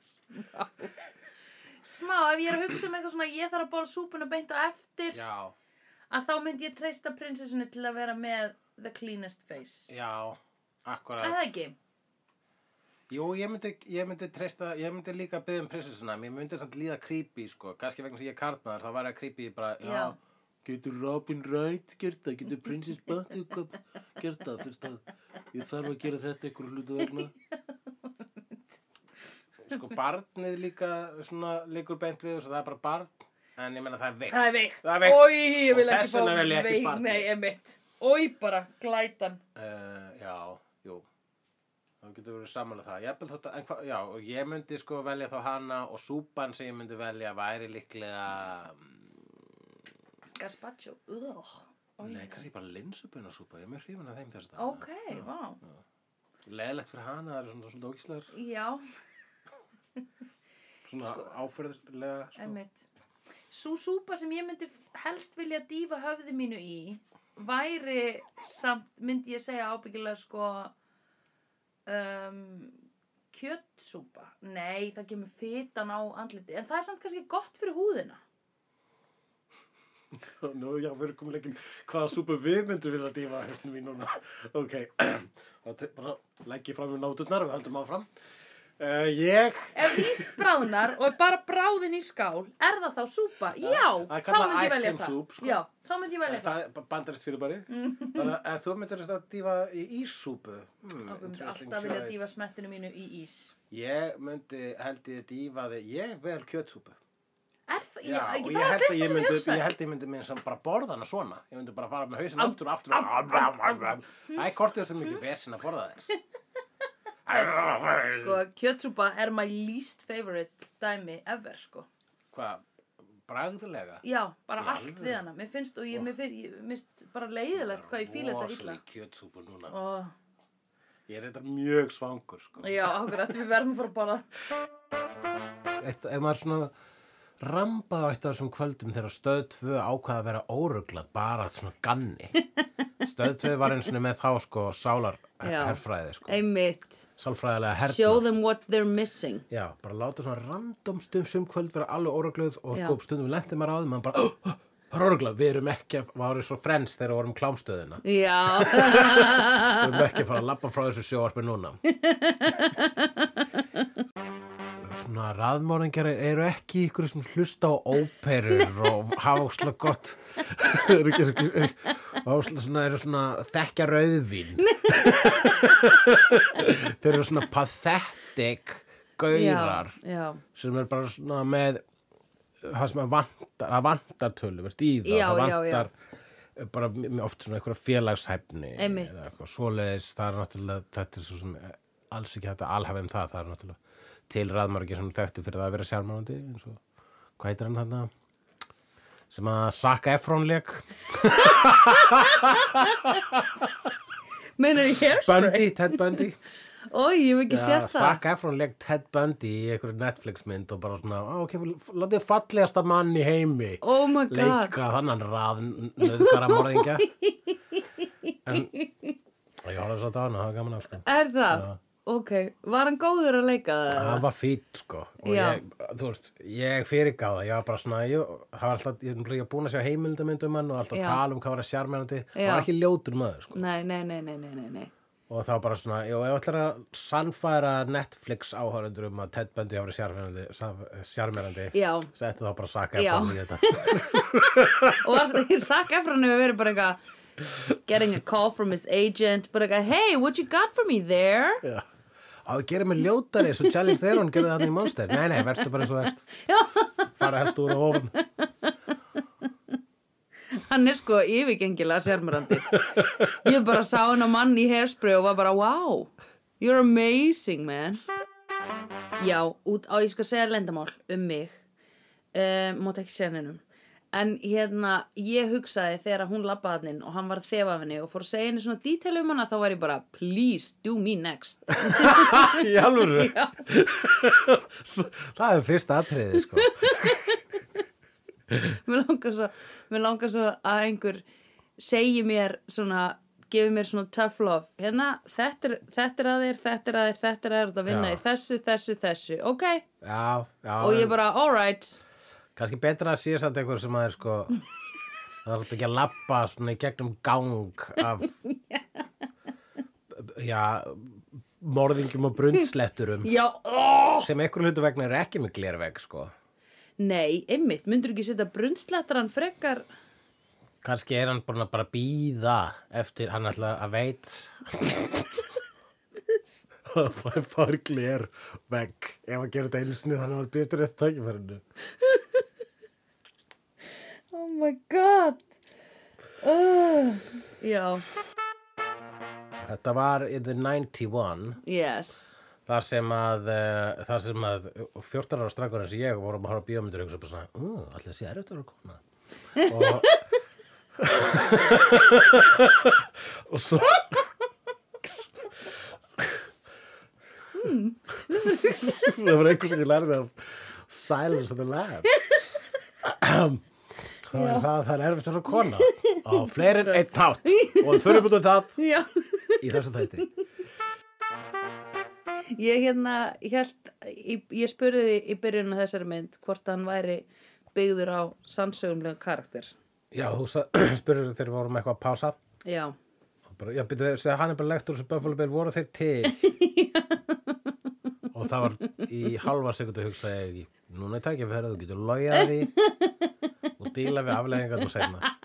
smá smá, ef ég er að hugsa um eitthvað svona ég þarf að bóla súpuna beint á eftir
Já,
að þá myndi ég treysta prinsessunni til að vera með the cleanest face
já,
Er það
akkurat.
ekki?
Jú, ég myndi, ég myndi treysta, ég myndi líka byggja um prinsessuna, mér myndi samt líða creepy, sko. Kanski vegna sem ég er kartmaður, þá var ég creepy bara, já,
Já.
getur Robin Wright gert það, getur prinsess Buttercup gert það, fyrst að ég þarf að gera þetta einhver hlutu vegna. Sko, barnið líka, svona, líkur beint við, þess að það er bara barn, en ég meina það er veikt.
Það er veikt.
Það er veikt.
Oj, ég
Og
vil ekki
þess
fá
vegna vil ég ekki
veik-
barnið.
Nei, emitt. Oj, bara, glætan.
Uh, já, jú þá getur verið samanlega það Jafnvel þótt að- en hva, já, og ég myndi sko velja þá hana og súpan sem ég myndi velja væri líklega mm,
Gazpacho. Ugh. Oj.
nei, kannski bara linsupuna súpa ég er mjög hrifin af þeim þess að
Ok, vá.
leðilegt fyrir hana, það eru svona svona ógíslegar
Já,
svona
Sko-
áferðlega sko.
emitt. Sú súpa sem ég myndi helst vilja dýfa höfði mínu í væri samt, myndi ég segja ábyggilega sko um, kjötsúpa. Nei, það kemur fitan á andliti. En það er samt kannski gott fyrir húðina.
nú, já, við erum komin ekki hvaða súpa við myndum vilja dýfa hérna mín núna ok, þá te- bara legg ég fram í náturnar, við höldum áfram uh, ég
Ef ís bráðnar og er bara bráðin í skál, er það þá súpa?
Já,
Já,
það er
þá
kallað
myndi ég
ice
velja
cream
það.
soup, sko.
Já, þá myndi ég velja
En
það.
það er bandarist fyrir bari
Mm.
Þannig að ef þú myndir að dýfa í íssúpu hmm,
Okkur myndi
interesting
alltaf vilja
choice.
dýfa smettinu mínu í ís.
Ég myndi held ég dýfa þig Ég vel kjötsúpu
Er það, já,
og
ég,
ég
það er
held að
fyrsta
ég
sem
myndi,
hugsa.
ég held að ég myndi minn sem bara borða hana svona Ég myndi bara fara með hausinn
Am,
aftur og aftur
am, am, am, am.
Það er kortið sem ekki vesin að borða þér
Sko, kjötsúpa er my least favorite dæmi ever, sko.
Hvað, bragðlega?
Já, bara
Í
allt
alvöru?
við hana. Mér finnst, og ég,
Ó.
mér finnst, ég, minnst bara leiðilegt hvað ég fíla þetta illa.
Rosaleg kjötsúpu núna
Oh,
Ég er þetta mjög svangur sko
já, okkur, við verðum að fara að borða.
eitt, ef maður svona rambaði á eitt af þessum kvöldum þegar stöð 2 ákvaða að vera óruglað bara svona ganni stöð 2 var eins og með þá sko sálar
Já.
herfræði sko
Einmitt.
sálfræðilega hernað
them what they're missing.
já, bara láta svona random stum sum kvöld vera alveg órugluð og
Já.
sko stundum lendi maður á því maður bara "Oh, oh, það er óruglað, við erum ekki að varum svo frens þegar við vorum klámstöðina
Já.
Við erum ekki að fara að labba frá þessu sjóarpi núna. Svona raðmóringjar eru ekki ykkur sem hlusta á óperur og hafa ósla gott, eru ekki ekki, ósla svona, eru svona þekkja rauðvín. Þeir eru svona pathetic gaurar
Já,
sem er bara svona með það sem að vantar, það vantar töluvert í það,
Já,
það
já, já.
vantar eh, bara m- m- oft svona einhverja félagshæfni
Einmitt.
eða eitthvað svoleiðis, það er náttúrulega þetta er svo sem eh, alls ekki hægt að alhafa um það, það er náttúrulega til raðmargi sem þekktu fyrir það að vera sjármánandi eins og, hvað heitir hann hann sem að Saka Efron leik
já. Meinar í hairspray?
Bundy, Ted Bundy
Ói, ég hef ekki séð
Já,
það.
Zac Efron leik Ted Bundy í einhverju Netflix mynd og bara svona, "Á, ok, látið fallegasta mann í heimi
Oh my god.
leika þannan rað nöðgara morðingja en ég horfði svo á hana, það var gaman af sko
Er það?
Já.
Ok, var hann góður að leika það?
það var fýtt sko og
Já.
ég, þú veist, ég fyrirgáða ég var bara svona, ég, það var alltaf ég er búin að sjá heimildamyndum hann og alltaf
Já.
tala um hvað var að sjarmerandi, það
Já.
var ekki ljótur maður sko.
Nei, nei, nei, nei, nei, nei, nei.
og það var bara svona, jú, ég ætlar að sannfæra Netflix áhörundur um að Ted Bundy hafa verið sjarmerandi
Já,
settu þá bara að saka
Já.
í þetta
og var svona, ég sakka eftir hann hefur verið bara eitthvað getting a call from his agent, bara eitthvað, hey, what you got for me there?
Já. á þú gerir mig ljótari svo Charlie Theron gerði það í Monster nei, nei, verður bara eins og ert fara helst úr og ofan
Hann er sko yfirgengilega sérmurandi. Ég bara sá hann á mann í hairspray og var bara, wow, you're amazing, man. Já, út á, ég skal Eh, segja lendamál um mig. Um, mátt ekki segja neinum. En hérna, ég hugsaði þegar hún labbaði hann inn og hann var að þefa af henni og fór að segja henni svona dítel um hana, þá var ég bara, please, do me next.
Í alvöru.
Já.
það er fyrsta atriði, sko.
mér langar svo, mér langar svo að einhver segi mér svona gefi mér svona tough love hérna, þetta er, þetta er að þér, þetta er að þér þetta er að þér, þetta vinna
Já.
í þessu, þessu, þessu ok,
Já, já.
og ég bara, alright
Kanski betra að sé samt einhver sem að er, sko, það er ekki að labba svona í gegnum gang af, já, morðingjum og brundsletturum
já, oh!
sem einhver hlutu vegna er ekki með glervegg, sko.
nei, einmitt, myndur ekki setja brunnslættaran frekar
Kanski er hann búin að bara býða eftir hann ætla að veit að það fær gler vegg ef að gera þetta einu sinni þannig að hann býður rétt tækifærinu.
oh my god oh. já,
Þetta var in the 91
yes
þar sem að, uh, þar sem að 14 ára strákur eins og ég vorum að horfa á bíómyndur og hugsa bara svona, uh, allir sé erfitt að vera kona. Og, og svo það var einhver sem ég lærði af Silence of the Lab það var það að það er erfitt að vera kona á fleiri en einn tát og við förum út af það
já
í þessu þætti
Ég hérna, held, ég, ég spurði því í byrjun af þessari mynd hvort hann væri byggður á sannsögumlega karakter.
Já, þú sa- spurður þegar við vorum eitthvað að pása
Já,
og bara, Já, byrju, segja hann er bara lektur sem Buffalo Bill voru þeir til og það var í halva sekundu hugsaði ég núna er tækja fyrir þú getur logið að því og díla við afleggingar og segna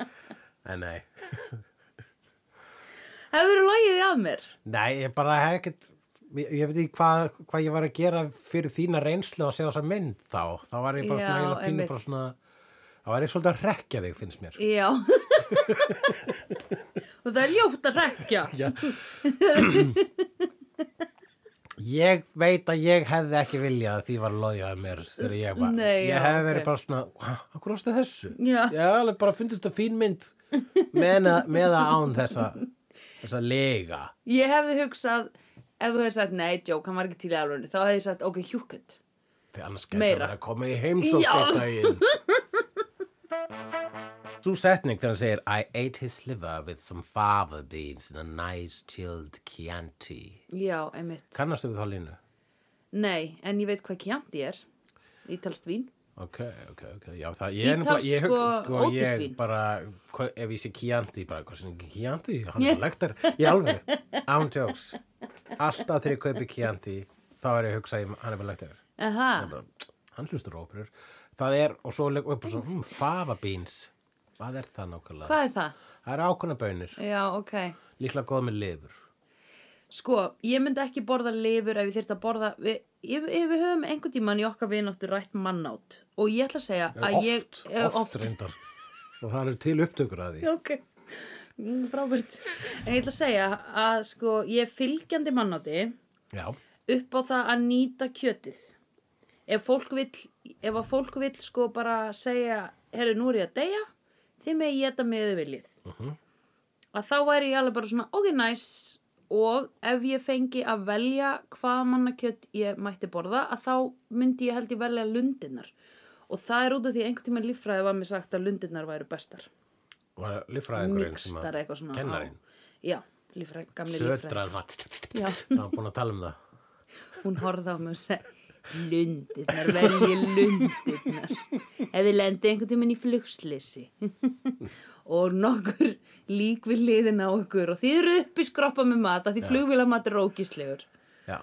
en nei
hefur logið að mér.
nei, ég bara hef ekkert ég, ég veit ekki hvað hva ég var að gera fyrir þína reynslu að segja þessa mynd þá þá var ég bara
Já,
svona, eiginlega pínu
einmitt.
bara svona þá var ég svolítið að rekja þig finnst mér
Já. og það er ljótt að rekja.
Já. ég veit að ég hefði ekki viljað að því var logið mér þegar ég var.
Nei, já,
ég hefði verið
ok.
bara svona, hvað varstu þessu?
Já.
Ég hefði alveg bara fundist það fín mynd með að- með að án þessa, þessa lega.
Ég hefði hugsað, ef þú hefði sagt, nei, Jók, hann var ekki til í alvörinu, þá hefði ég sagt, ok, hjúkund.
Þegar annars gæti
Meira.
að vera að koma í heimsókn
Já.
eitt daginn. Sú setning þegar hann segir I ate his liver with some fava beans in a nice chilled Chianti.
Já, einmitt.
Kannastu við þá línu?
Nei, en ég veit hvað kjandi er. Ítalst vín.
Ok, ok, ok, já það, ég er
Ítalskt,
nefnilega, ég,
sko,
sko, sko,
ódýrt
ég
vín.
bara, hva, ef ég sé Chianti, bara, hvað sem ekki Chianti, hann er lektar, ég alveg, án jokes, alltaf þegar ég kaupi Chianti, þá er ég að hugsa, ég, hann er bara lektar,
En það,
hann hlustur á óperur, það er, og svo, leik- og bara svo, mm, fava beans, hvað er það nákvæmlega?
hvað er það?
Það eru ákveðna bönir,
Já, ok.
líklega góð með lifur,
Sko, ég myndi ekki borða lifur ef ég þyrfti að borða, við, ef, ef við höfum einhvern tímann í okkar vináttu rætt mannátt og ég ætla að segja að
oft,
ég...
oft,
eh,
reyndar, og það eru til upptökur að því,
Ok, Mm, frábært. En ég ætla að segja að sko, ég er fylgjandi mannátti
já,
upp á það að nýta kjötið. Ef fólk vill, ef að fólk vill sko bara segja, herru, nú er ég að deyja, þið með ég geta með þau viljið.
Mhm.
að þá væri ég alveg bara svona ok nice og ef ég fengi að velja hvað mannakjött ég mætti borða að þá myndi ég held ég velja lundinnar og það er út af því að einhvern tímann líffræði var mér sagt að lundinnar væru bestar
var líffræðingurinn sem að-
mixtar eitthvað svona á-
kennarinn.
já, líffræði, gamli líffræði
södra
Já.
það var búin að tala um það
hún horfði á mig og segi lundirnar, velji lundirnar ef þið lendi einhvern tímann í flugslisi og nokkur lík við liðin á okkur og þið eru upp í skroppa með mat að því flugvílamat er ógíslegur
Já.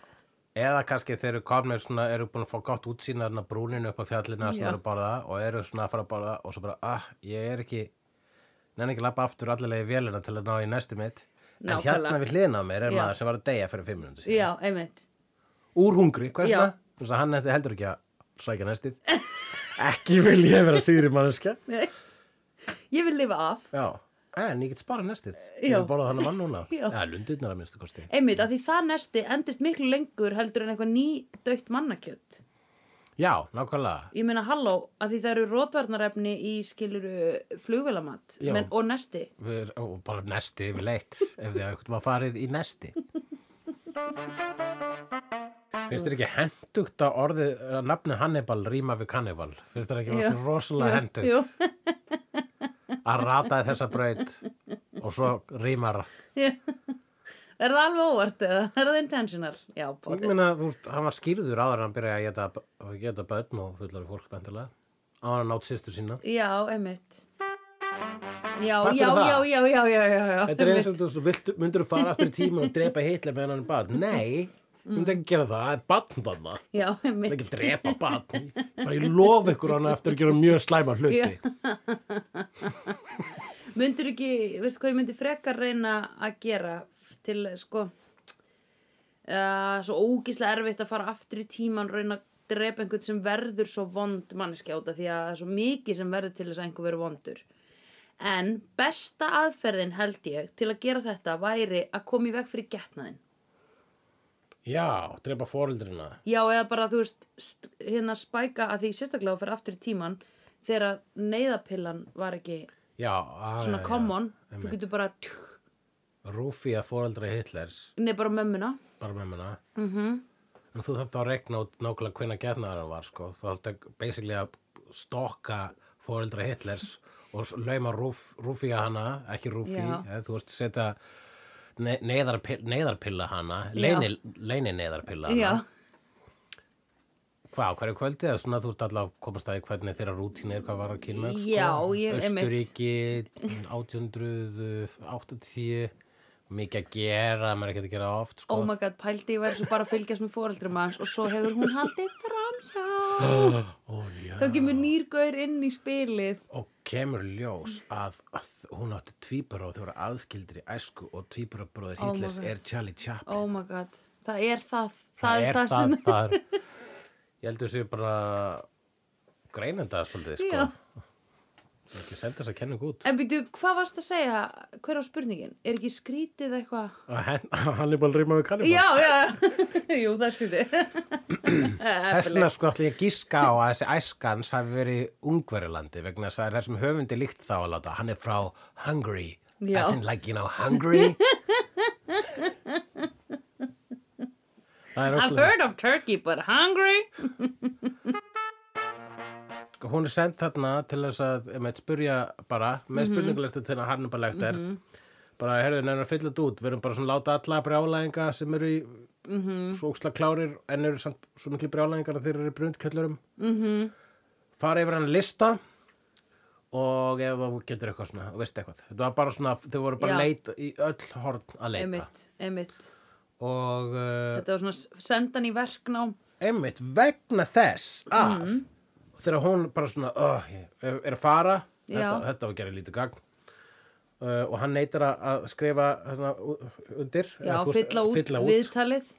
eða kannski þeir eru komnir svona, eru búin að fá gott útsýn þarna brúninu upp á fjallinu
Já.
svona eru að borða og eru svona að fara að borða og svo bara, ah, ég er ekki nenni ekki að lappa aftur allilega í vélina til að ná í næstu mitt en
Nákvæmlega.
hérna við hliðin á mér er
Já.
maður sem var að deyja fyrir fimm minúti
já, einmitt
úr hungri, hvers
Já.
vegna? Þess að hann ætti heldur ekki að sækja næstið ekki vil ég vera síðri mannskja
Nei. ég vil lifa af
Já, en ég get spara næstið ég
Já.
vil borða þannig mann núna
Já.
ja, lundirnar að minnstu kosti
einmitt, að því það nesti endist miklu lengur heldur en eitthvað nýdautt mannakjött
Já, nákvæmlega.
Ég meina halló, að því það eru rótvarnarefni í skiluru flugvélamatt
Já.
menn, og nesti.
Við er, og bara nesti yfirleitt ef þið hafa maður farið í nesti. Finnst þér ekki hendugt að orðið, að nafni Hannibal rýma við kannibal? Finnst þér ekki
Jú.
bara svona rosalega hendugt
Jú,
að rataði þessa braut og svo rýmar?
jú. er það alveg óvart eða? Er það intentional? Já,
Ég
bóti.
meina, þú veist, hann var skýrður áður en hann byrjaði að geta, að geta börn og fullari fólk bendilega. Áður en hann nátt sýstur sína.
Já, einmitt. Já,
Takk fyrir
já,
það.
já, já, já, já, já, já.
Þetta er eins
einmitt.
og þú veist, myndur þú fara aftur í tíma og drepa Hitler meðan hann er barn? Nei, myndur ekki gera það, það er barn þarna. Það
Já,
er
einmitt.
ekki að drepa barn. Bara ég lof ykkur hann eftir að gera mjög slæma hluti.
Já. Myndur ekki, veistu hvað ég myndi frekar reyna að gera til sko uh, svo ógíslega erfitt að fara aftur í tíman reyna að drepa einhvern sem verður svo vond manneskjáta því að það er svo mikið sem verður til þess að einhver verður vondur. En besta aðferðin held ég til að gera þetta væri að koma í veg fyrir getnaðin.
Já, drepa foreldrina.
Já, eða bara þú veist, st- hérna spæka að því sérstaklega fyrir aftur í tíman þegar að neyðapillan var ekki
Já, að,
svona common, þú
einmitt.
getur bara
Rúfi að foreldra Hitlers,
Nei, bara mömmuna.
bara með menna.
Mm
En þú þarft að regna út nákvæmlega hvenna getnaðar hann var, sko. Þú þarft að basically að stokka foreldra Hitlers og s- lauma Rúf, Rúfi að hana, ekki Rúfi.
Já.
eða Þú veist, setja ne- neyðarpi- neyðarpilla hana,
Já.
leyni, leyni neyðarpilla hana.
Já,
Hvað, á hverju kvöldi eða svona þú ert alltaf að komast að því hvernig þeirra rútín er hvað var að kynna sko?
Já, ég-
Östuríki, 1880 mikið að gera, maður er ekki að gera oft sko.
oh my god, pældi ég væri svo bara að fylgjast með foreldrum hans og svo hefur hún haldið framhjá.
Ó, já.
Þá kemur nýrgauður inn í spilið.
og kemur ljós að, að hún átti tvíbara og þau voru aðskildir í æsku og tvíbarabróður
Oh my
Hitlers
God.
er Charlie Chaplin
Oh my god, það er það. Það, er það, sem...
það er, ég heldur sér bara greinenda svolítið sko.
Já.
ekki senda þess að kenna út
En býtu, hvað varst að segja? Hver á spurningin? Er ekki skrítið eitthvað?
Að hen- Hannibal rýma við kannibal
Já, já, jú, það er skrítið.
Þess
Þessna...
vegna sko ætla ég að gíska á að þessi æskans hafi verið í Ungverjalandi vegna þess að það er sem höfundi líkt þá að láta hann er frá Hungary
Já.
as in like you know Hungary Það er
I've
óslega
heard of Turkey but hungry.
sko, hún er send þarna til þess að með spurja bara
Mhm.
með spurningalista til að hann bara legt er bara herðu nefnir að fylla þetta út við erum bara svona að láta alla brjálæðinga sem eru í
Mm -hmm.
svo óksla klárir en eru samt svo miklu brjálæðingar að þeir eru brundkjöllurum
Mhm.
fara yfir hann lista og ef þú getur eitthvað svona og veist eitthvað, þetta var bara svona þau voru bara
Já.
leit í öll horn að leita
Einmitt, einmitt.
og uh,
Þetta var svona s- sendan í verknám.
einmitt vegna þess að
Mm.
þegar hún bara svona uh, er er að fara,
Já.
þetta, þetta var að gera lítið gagn uh, og hann neytar að- að skrifa hérna, u- undir
Já,
eða þú veist,
fylla út,
fylla út.
viðtalið.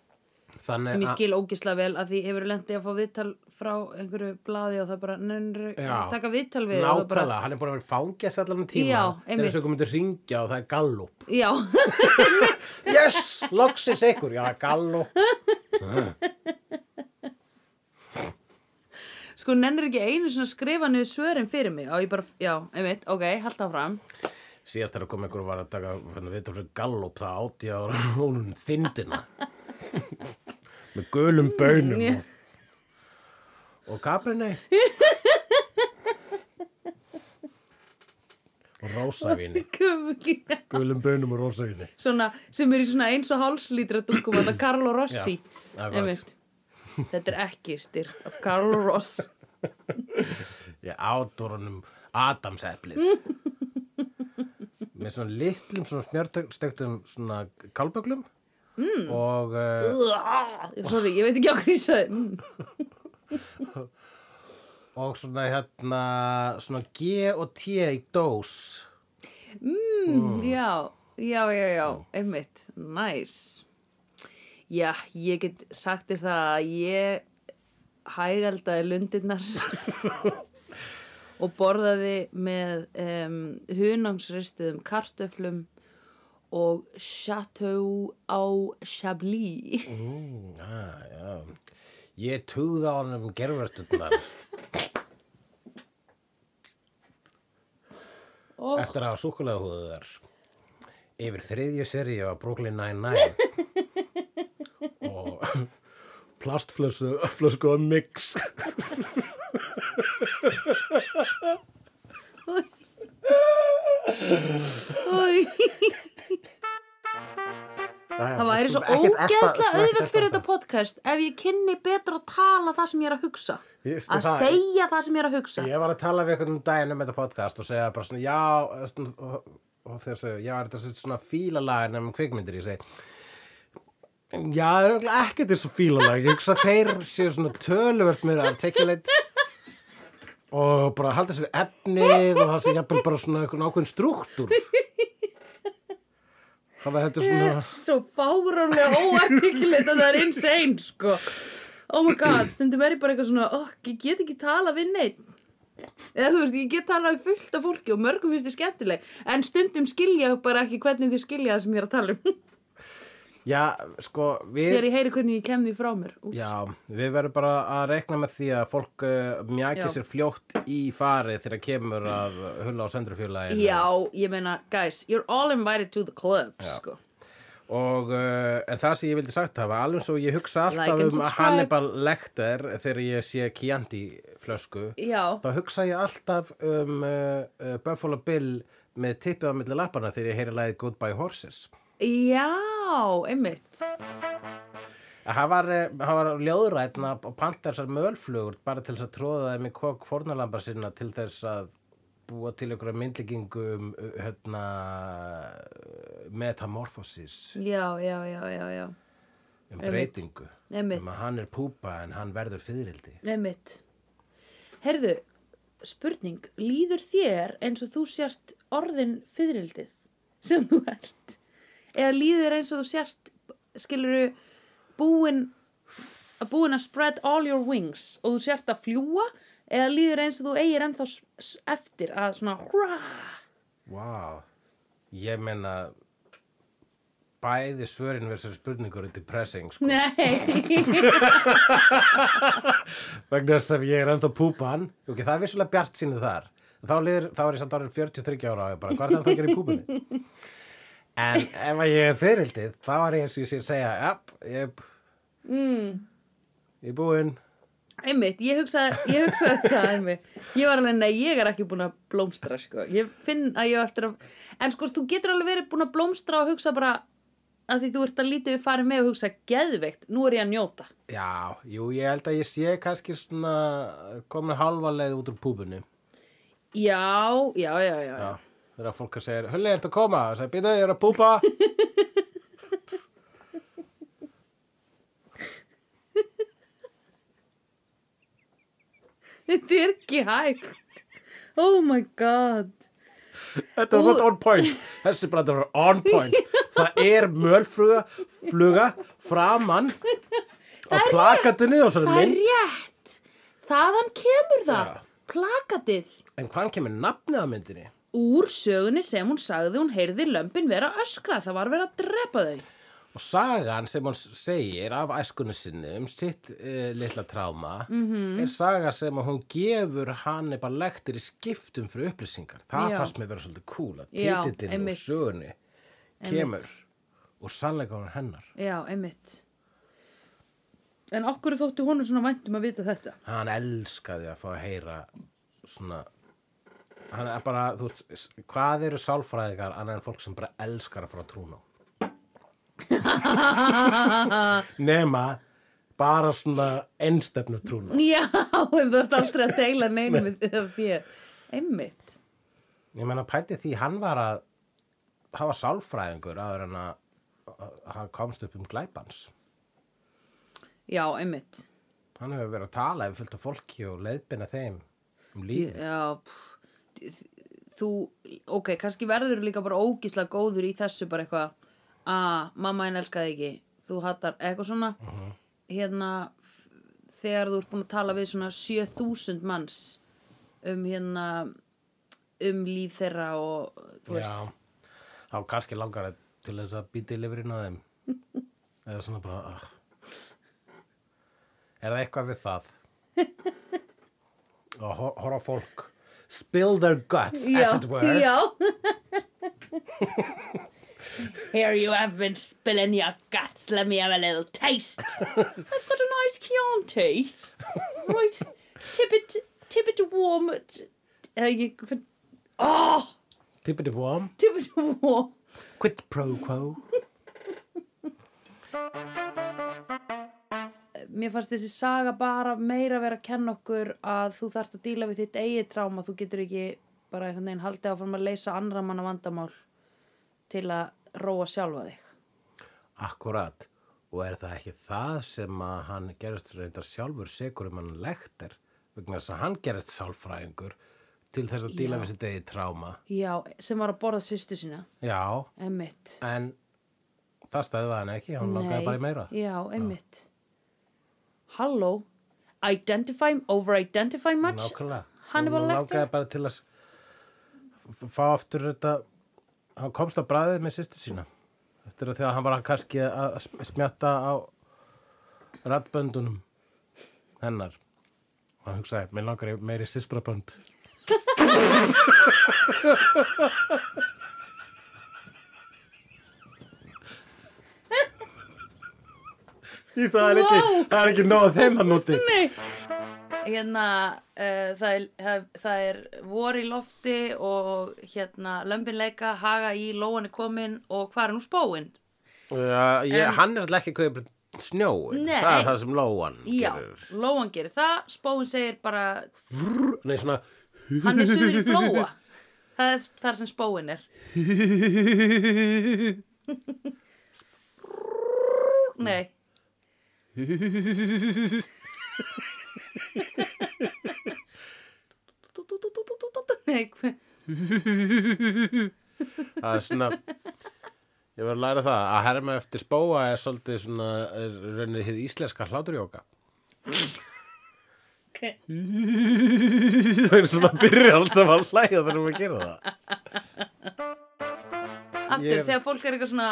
Þannig
sem ég
að-
skil ógisla vel að því hefur lendið að fá viðtal frá einhverju blaði og það bara nennir
Já.
taka viðtal við og
Nákvæmlega,
það bara,
hann er búin að vera í fangjast allan um tíma
Já,
Þegar
einmitt.
þessu komið til að ringja og það er gallup
já,
Yes, loksins ykkur, já, gallup
sko nennir ekki einu svona skrifa niður svörin fyrir mig og ég bara, já, einmitt, ok, hald það fram
Síðast þegar kom ykkur og var að taka hérna, við fyrir gallup það átti að hún þindina með gulum bönum og, og kaprinni og rósavíni gulum bönum og rósavíni
svona, sem er í svona eins og hálslítra dungum að það Karlo Rossi
Já, akkurat.
einmitt, þetta er ekki styrt af Karlo Ross
Ég átur honum Adamseplið með svona litlum svona smjörstöktum svona kálböglum mm. og, uh,
sorry, ég veit ekki á hvað ég sagði Mm,
og svona hérna svona G og T í dós
mm, já, já, já, já, einmitt nice. Já, ég get sagt þér það að ég hægaldaði lundirnar og borðaði með um, hunangsristuðum kartöflum og Chateau á Chablis.
mm, ah, já. Ég tugði á hann um gerfurstundar
Ó,
eftir að súkulega húðu þar. Yfir þriðju seríu af Brooklyn Nine-Nine og plastflösku flösku og mix.
Új, það væri svo ógeðslega auðvelt fyrir þetta podcast ef ég kynni betur að tala það sem ég er að hugsa
Vistu
að
það?
segja það sem ég er að hugsa
Ég var að tala við einhvern um daginn um þetta podcast og segja bara svona, já, svona, og, og þeir segja, já, er þetta sem svona fílalag nefnum kvikmyndir, ég segi, já, það er örugglega ekkert eins og fílalag, ég hugsa að þeir séu svona töluvert mér articulate og bara halda sér við efnið og það sé jafnvel bara svona einhvern ákveðin struktúr. Þannig að þetta er svona,
svo fáránlega óartikulegt að það er insane sko oh my god, stundum er ég bara eitthvað svona oh, ég get ekki tala við neitt eða þú veist, ég get talað við fullt af fólki og mörgum finnst þið skemmtileg en stundum skilja ég bara ekki hvernig þið skilja það sem ég er að tala um
já, sko, við...
þegar ég heyri hvernig ég kem því frá mér Úps.
Já, við verðum bara að rekna með því að fólk uh, mjaki
Já.
sér fljótt í farið þegar kemur að hulla á söndrufjúlæðinu
Já, ég meina, guys, you're all invited to the club, sko.
og uh, en það sem ég vildi sagt hafa alveg svo ég hugsa
Like
alltaf
and
um
subscribe.
Hannibal Lecter þegar ég sé Chianti flösku
Já,
þá hugsa ég alltaf um uh, uh, Buffalo Bill með tippið á milli lappana þegar ég heyri lagið Goodbye Horses
já, einmitt.
Hann var, eh, hann var ljóðrætn að panta þessar mölflugur bara til þess að tróða þeim í kokk fórnalamba sinna til þess að búa til ykkur myndlíkingu um uh, hérna, metamorfosis,
Já, já, já, já, já.
um
Einmitt.
breytingu. Um
Einmitt,
að hann er púpa en hann verður fyririldi.
einmitt. Herðu, spurning, líður þér eins og þú sért orðin fyririldið sem þú ert? Eða líður þér eins og þú sért, skiluru, búin að búin að spread all your wings og þú sért að fljúa? Eða líður þér eins og þú eigir ennþá s- s- eftir að svona hraa?
Vá, wow. ég meina bæði svörin verður spurningur er depressing sko.
Nei,
vegna þess að ég er ennþá púpan ok, það er vissulega bjart sínu þar þá, liður, þá er ég samt orðin 43 ára og ég bara, hvað er það að gera í púpunni en ef að ég er fyririldið þá er ég eins og ég sé að segja jáp, ég,
mm.
ég er búinn
einmitt, ég hugsaði, ég hugsaði það einmitt. Ég var alveg, nei, ég er ekki búin að blómstra, sko. Ég finn að ég á eftir að, en sko, þú getur alveg verið búin að blómstra og hugsa bara að því þú ert að lítið við farið með og hugsa geðveikt, nú er ég að njóta.
já, jú, ég held að ég sé kannski svona komin halva leið út úr púpunni
Já, já, já, já.
já, þegar fólk að segja hulli, ertu að koma? og segja, býta, ég er að púpa
Þetta er ekki hægt. Oh my god.
Þetta var
Ú.
svolítið on point. Þessi brandur var on point. Það er mölfluga fluga framann á plakatunni og svona
Það er
mynd.
rétt. Þaðan kemur það.
Já.
Plakatið.
En hvaðan kemur nafnið á myndinni?
Úr sögunni sem hún sagði hún heyrði lömpin vera að öskra. Það var verið að drepa þau.
Og sagan sem hún segir af æskunni sinni um sitt uh, litla tráma
Mhm.
-hmm. er saga sem að hún gefur hann eitthvað lektir í skiptum fyrir upplýsingar. Það
Já.
fannst mér vera svolítið cool að
Já,
titillin og
einmitt.
sögunni kemur og sannleikunum hennar.
Já, einmitt. En okkur þóttu honum svona væntum að vita þetta?
hann elskaði að fá að heyra svona hann er bara, þú veist, s- hvað eru sálfræðingar annað en fólk sem bara elskar að fara að trúna á? nema bara svona einstefnu trúna
Já, en þú ert aldrei að deila neinu með þér. Einmitt.
ég meina pælti því hann var að hafa sálfræðingur áður en að að hann komst upp um glæpans
Já, einmitt.
hann hefur verið að tala yfir fullt af fólki og leiðbina þeim um
Djú-
lífið
Já, pff, þú, ok, kannski verður líka bara ógísla góður í þessu bara eitthvað að mamma henn elskaði ekki, þú hattar eitthvað svona hérna f- þegar þú ert búin að tala við svona 7000 manns um hérna um líf þeirra og þú veist
Já, þá kannski langar það til þess að býta í lifrin á þeim. Eða svona bara, ah. Er það eitthvað við það? Og hor- horfa á fólk spill their guts as it were
Já. Here you have been spilling your guts. Let me have a little taste. I've got a nice Chianti. Right. Tip it, tip it warm. At, uh, you, oh,
Tippity wom,
tip it warm.
quid pro quo
mér fannst þessi saga bara meira vera að kenna okkur að þú þarft að díla við þitt eigið tráma, þú getur ekki bara einhvern veginn haldið áfram að leysa andra manna vandamál til að róa sjálfa þig.
Akkurat og er það ekki það sem að hann gerist reyndar sjálfur segur um hann lektir vegna þess að hann gerist sálfræðingur til þess að díla
Já.
við sitt eigi tráma
Já, sem var að borða sýstu sína,
Já,
emmitt.
en það stæðið hann ekki, hann langaði bara í meira
Já, emmitt. Halló, identify, over-identify much?
Nákvæmlega,
Hannibal
hann
Lecter?
langaði bara til að s- f- fá aftur þetta hann komst að bræðið með sýstu sína eftir að því að hann var kannski að sm- smjatta á rattböndunum hennar og hann hugsaði, mér langar í meiri sýstrabönd Því það er ekki,
Wow.
það er ekki nóg að þeim hann úti
Nei.
hérna uh, það, er, það, það er vor í lofti og hérna lömbinleika haga í lóan er komin og hvað er nú spóin?
Já, ég,
En-
hann er alltaf ekki að kaupa snjóin,
Nei.
það er það sem lóan
Já,
gerir.
lóan gerir það, spóin segir bara
Vrr, nei, svona,
hann er suður í flóa það er þar sem spóin er Nei, nei hver-
það er svona, ég var að læra það, að herma eftir spóa er svolítið svona, er raunnið hið íslenska hláturjóka.
Ok.
Það er svona að byrja alltaf að hlæja þegar maður gerir það.
aftur
Ég-
þegar fólk er eitthvað svona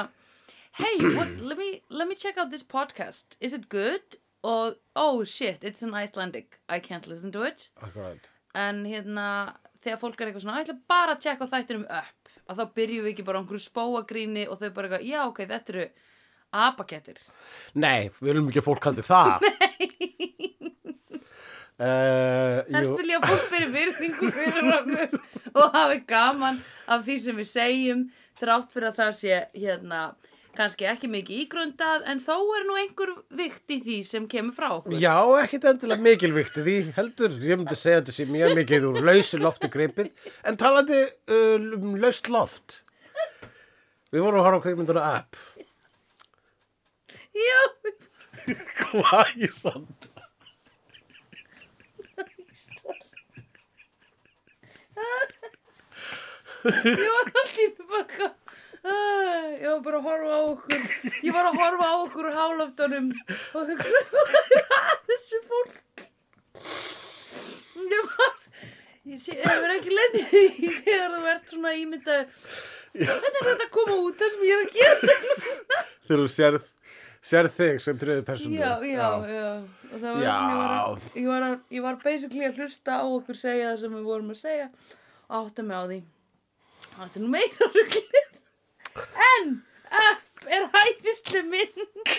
hey, what, let, me, let me check out this podcast is it good? og oh shit, it's in Icelandic I can't listen to it
Akkurát.
en hérna, þegar fólk er eitthvað svona "Ég ætla bara að checka á þættinum upp að þá byrjum við ekki bara á einhverju spóagríni og þau bara eitthvað, já ok, þetta eru apakettir
Nei, við viljum ekki að fólk haldi það. Nei. Eh,
helst vilja að fólk byrja virðingu fyrir okkur og hafi gaman af því sem við segjum þrátt fyrir að það sé hérna kannski ekki mikið ígrundað en þó er nú einhver vikt í því sem kemur frá okkur
Já, ekkert endilega mikilvíkt í því heldur, ég myndi segja þetta sé mjög mikið úr lausu lofti gripið, en talandi uh, um laust loft Við vorum að horfa á kveikmynduna app
já,
Hvað ég samt
ég var alltaf í bara eitthvað, "Æ, ég var bara að horfa á okkur ég var að horfa á okkur úr háloftunum og hugsa hvað er að þessu fólk ég var ég sé, hefur ekki lendið í því þegar þú ert svona ímyndað hvernig er þetta að koma út það sem ég er að gera
Þegar þú sérð, sérð þig sem triðu persónu
já, já, já og það var
Já.
svona ég var, að, ég, var að, ég var basically að hlusta á okkur segja það sem við vorum að segja og átta mig á því þetta er nú meira ruglið en upp er hæðislu mynd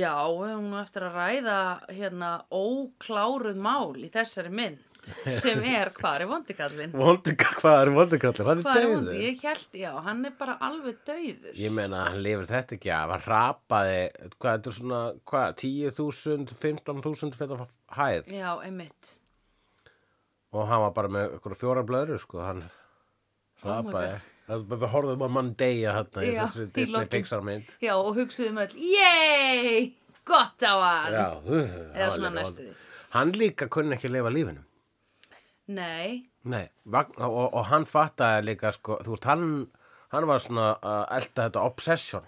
já, við höfum nú eftir að ræða hérna ókláruð mál í þessari mynd sem er hvar er vondikallin
Vondika, hvað er vondikallir? Hann
hvar
er
er vondi,
döður
ég held, já, hann er bara alveg döður
Ég meina, hann lifir þetta ekki af, hann rapaði, hvað, þetta er svona, hvað, 10.000, 15.000 fyrir hæð
já, einmitt
og hann var bara með ykkur fjóra blöður sko, hann
Oh my
hrapaði oh við horfðum að mann deyja hérna í
Já,
þessari
í
Disney
lokin.
Pixar mynd
Já, og hugsuðum öll, yey, gott á hann.
já, uh, það var
svona
líka
næstum
vond.
því.
hann líka kunni ekki að lifa lífinu
Nei,
Nei, vagn, og, og, og hann fattaði líka sko, þú veist, hann, hann var svona að elda þetta obsession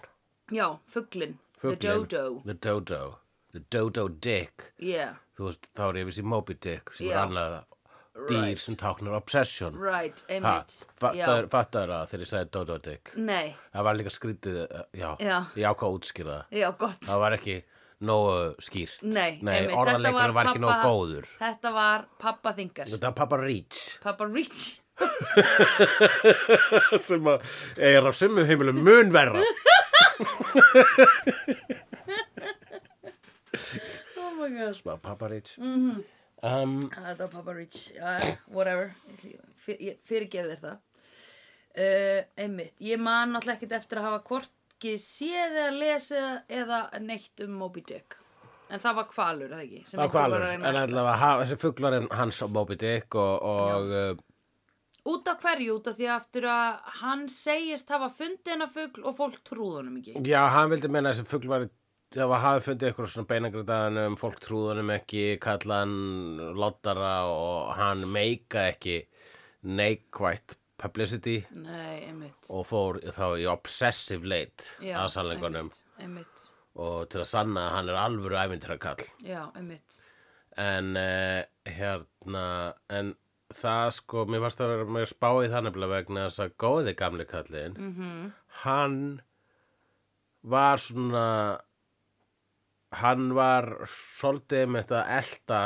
já, fugglin, the
fuglinn.
dodo,
the dodo, the dodo dick
yeah,
þú veist, þá er ég vissi Moby Dick sem
Já.
er annað dýr
Right.
sem táknar obsession
right,
Ha,
einmitt,
fattaður fattaður það þegar ég sagði dodo dick
nei,
Það var líka skrítið, uh, já,
Já.
ég ákvað að útskýra það.
já, gott,
Það var ekki, nógu skýrt.
Nei,
Nei,
einmitt, þetta
orðanleikurinn var, ekki nógu
pabba-
góður.
Þetta var pappa þingar.
Þetta er pappa Reach.
Pappa Rich.
sem að er á sumum heimilum mun verra.
Oh my gosh.
Smá pappa Reach.
Mhm.
um,
Þetta var Papa Rich, já, já, whatever, fyrirgef þér það. Uh, einmitt, ég man náttúrulega ekkert eftir að hafa hvorki séð eða lesið eða neitt um Moby Dick. En það var kvalur, eða ekki? sem
á
einhver var
kvalur.
að reyna
En
að elta.
allavega ha- þessi fuglar en hans á Moby Dick og, og uh,
Út af hverju, út af því aftur að hann segist hafa fundið hennar fugl og fólk trúð honum ekki.
já, hann vildi meina að þessi fugl var það var hafið fundið eitthvað svona beinagrindaðanum, fólk trúðanum ekki, kallaðan lottara og hann meika ekki neikvætt publicity
Nei, einmitt.
og fór þá í obsessive leit
Já,
að sannleikunum
einmitt, Einmitt,
og til að sanna að hann er alvöru æfintirakall
já, einmitt.
en uh, hérna en það sko, mér varst að vera með spáið það nefnilega vegna þess að góði gamli kallinn
Mm
hann var svona hann var svolítið með þetta elta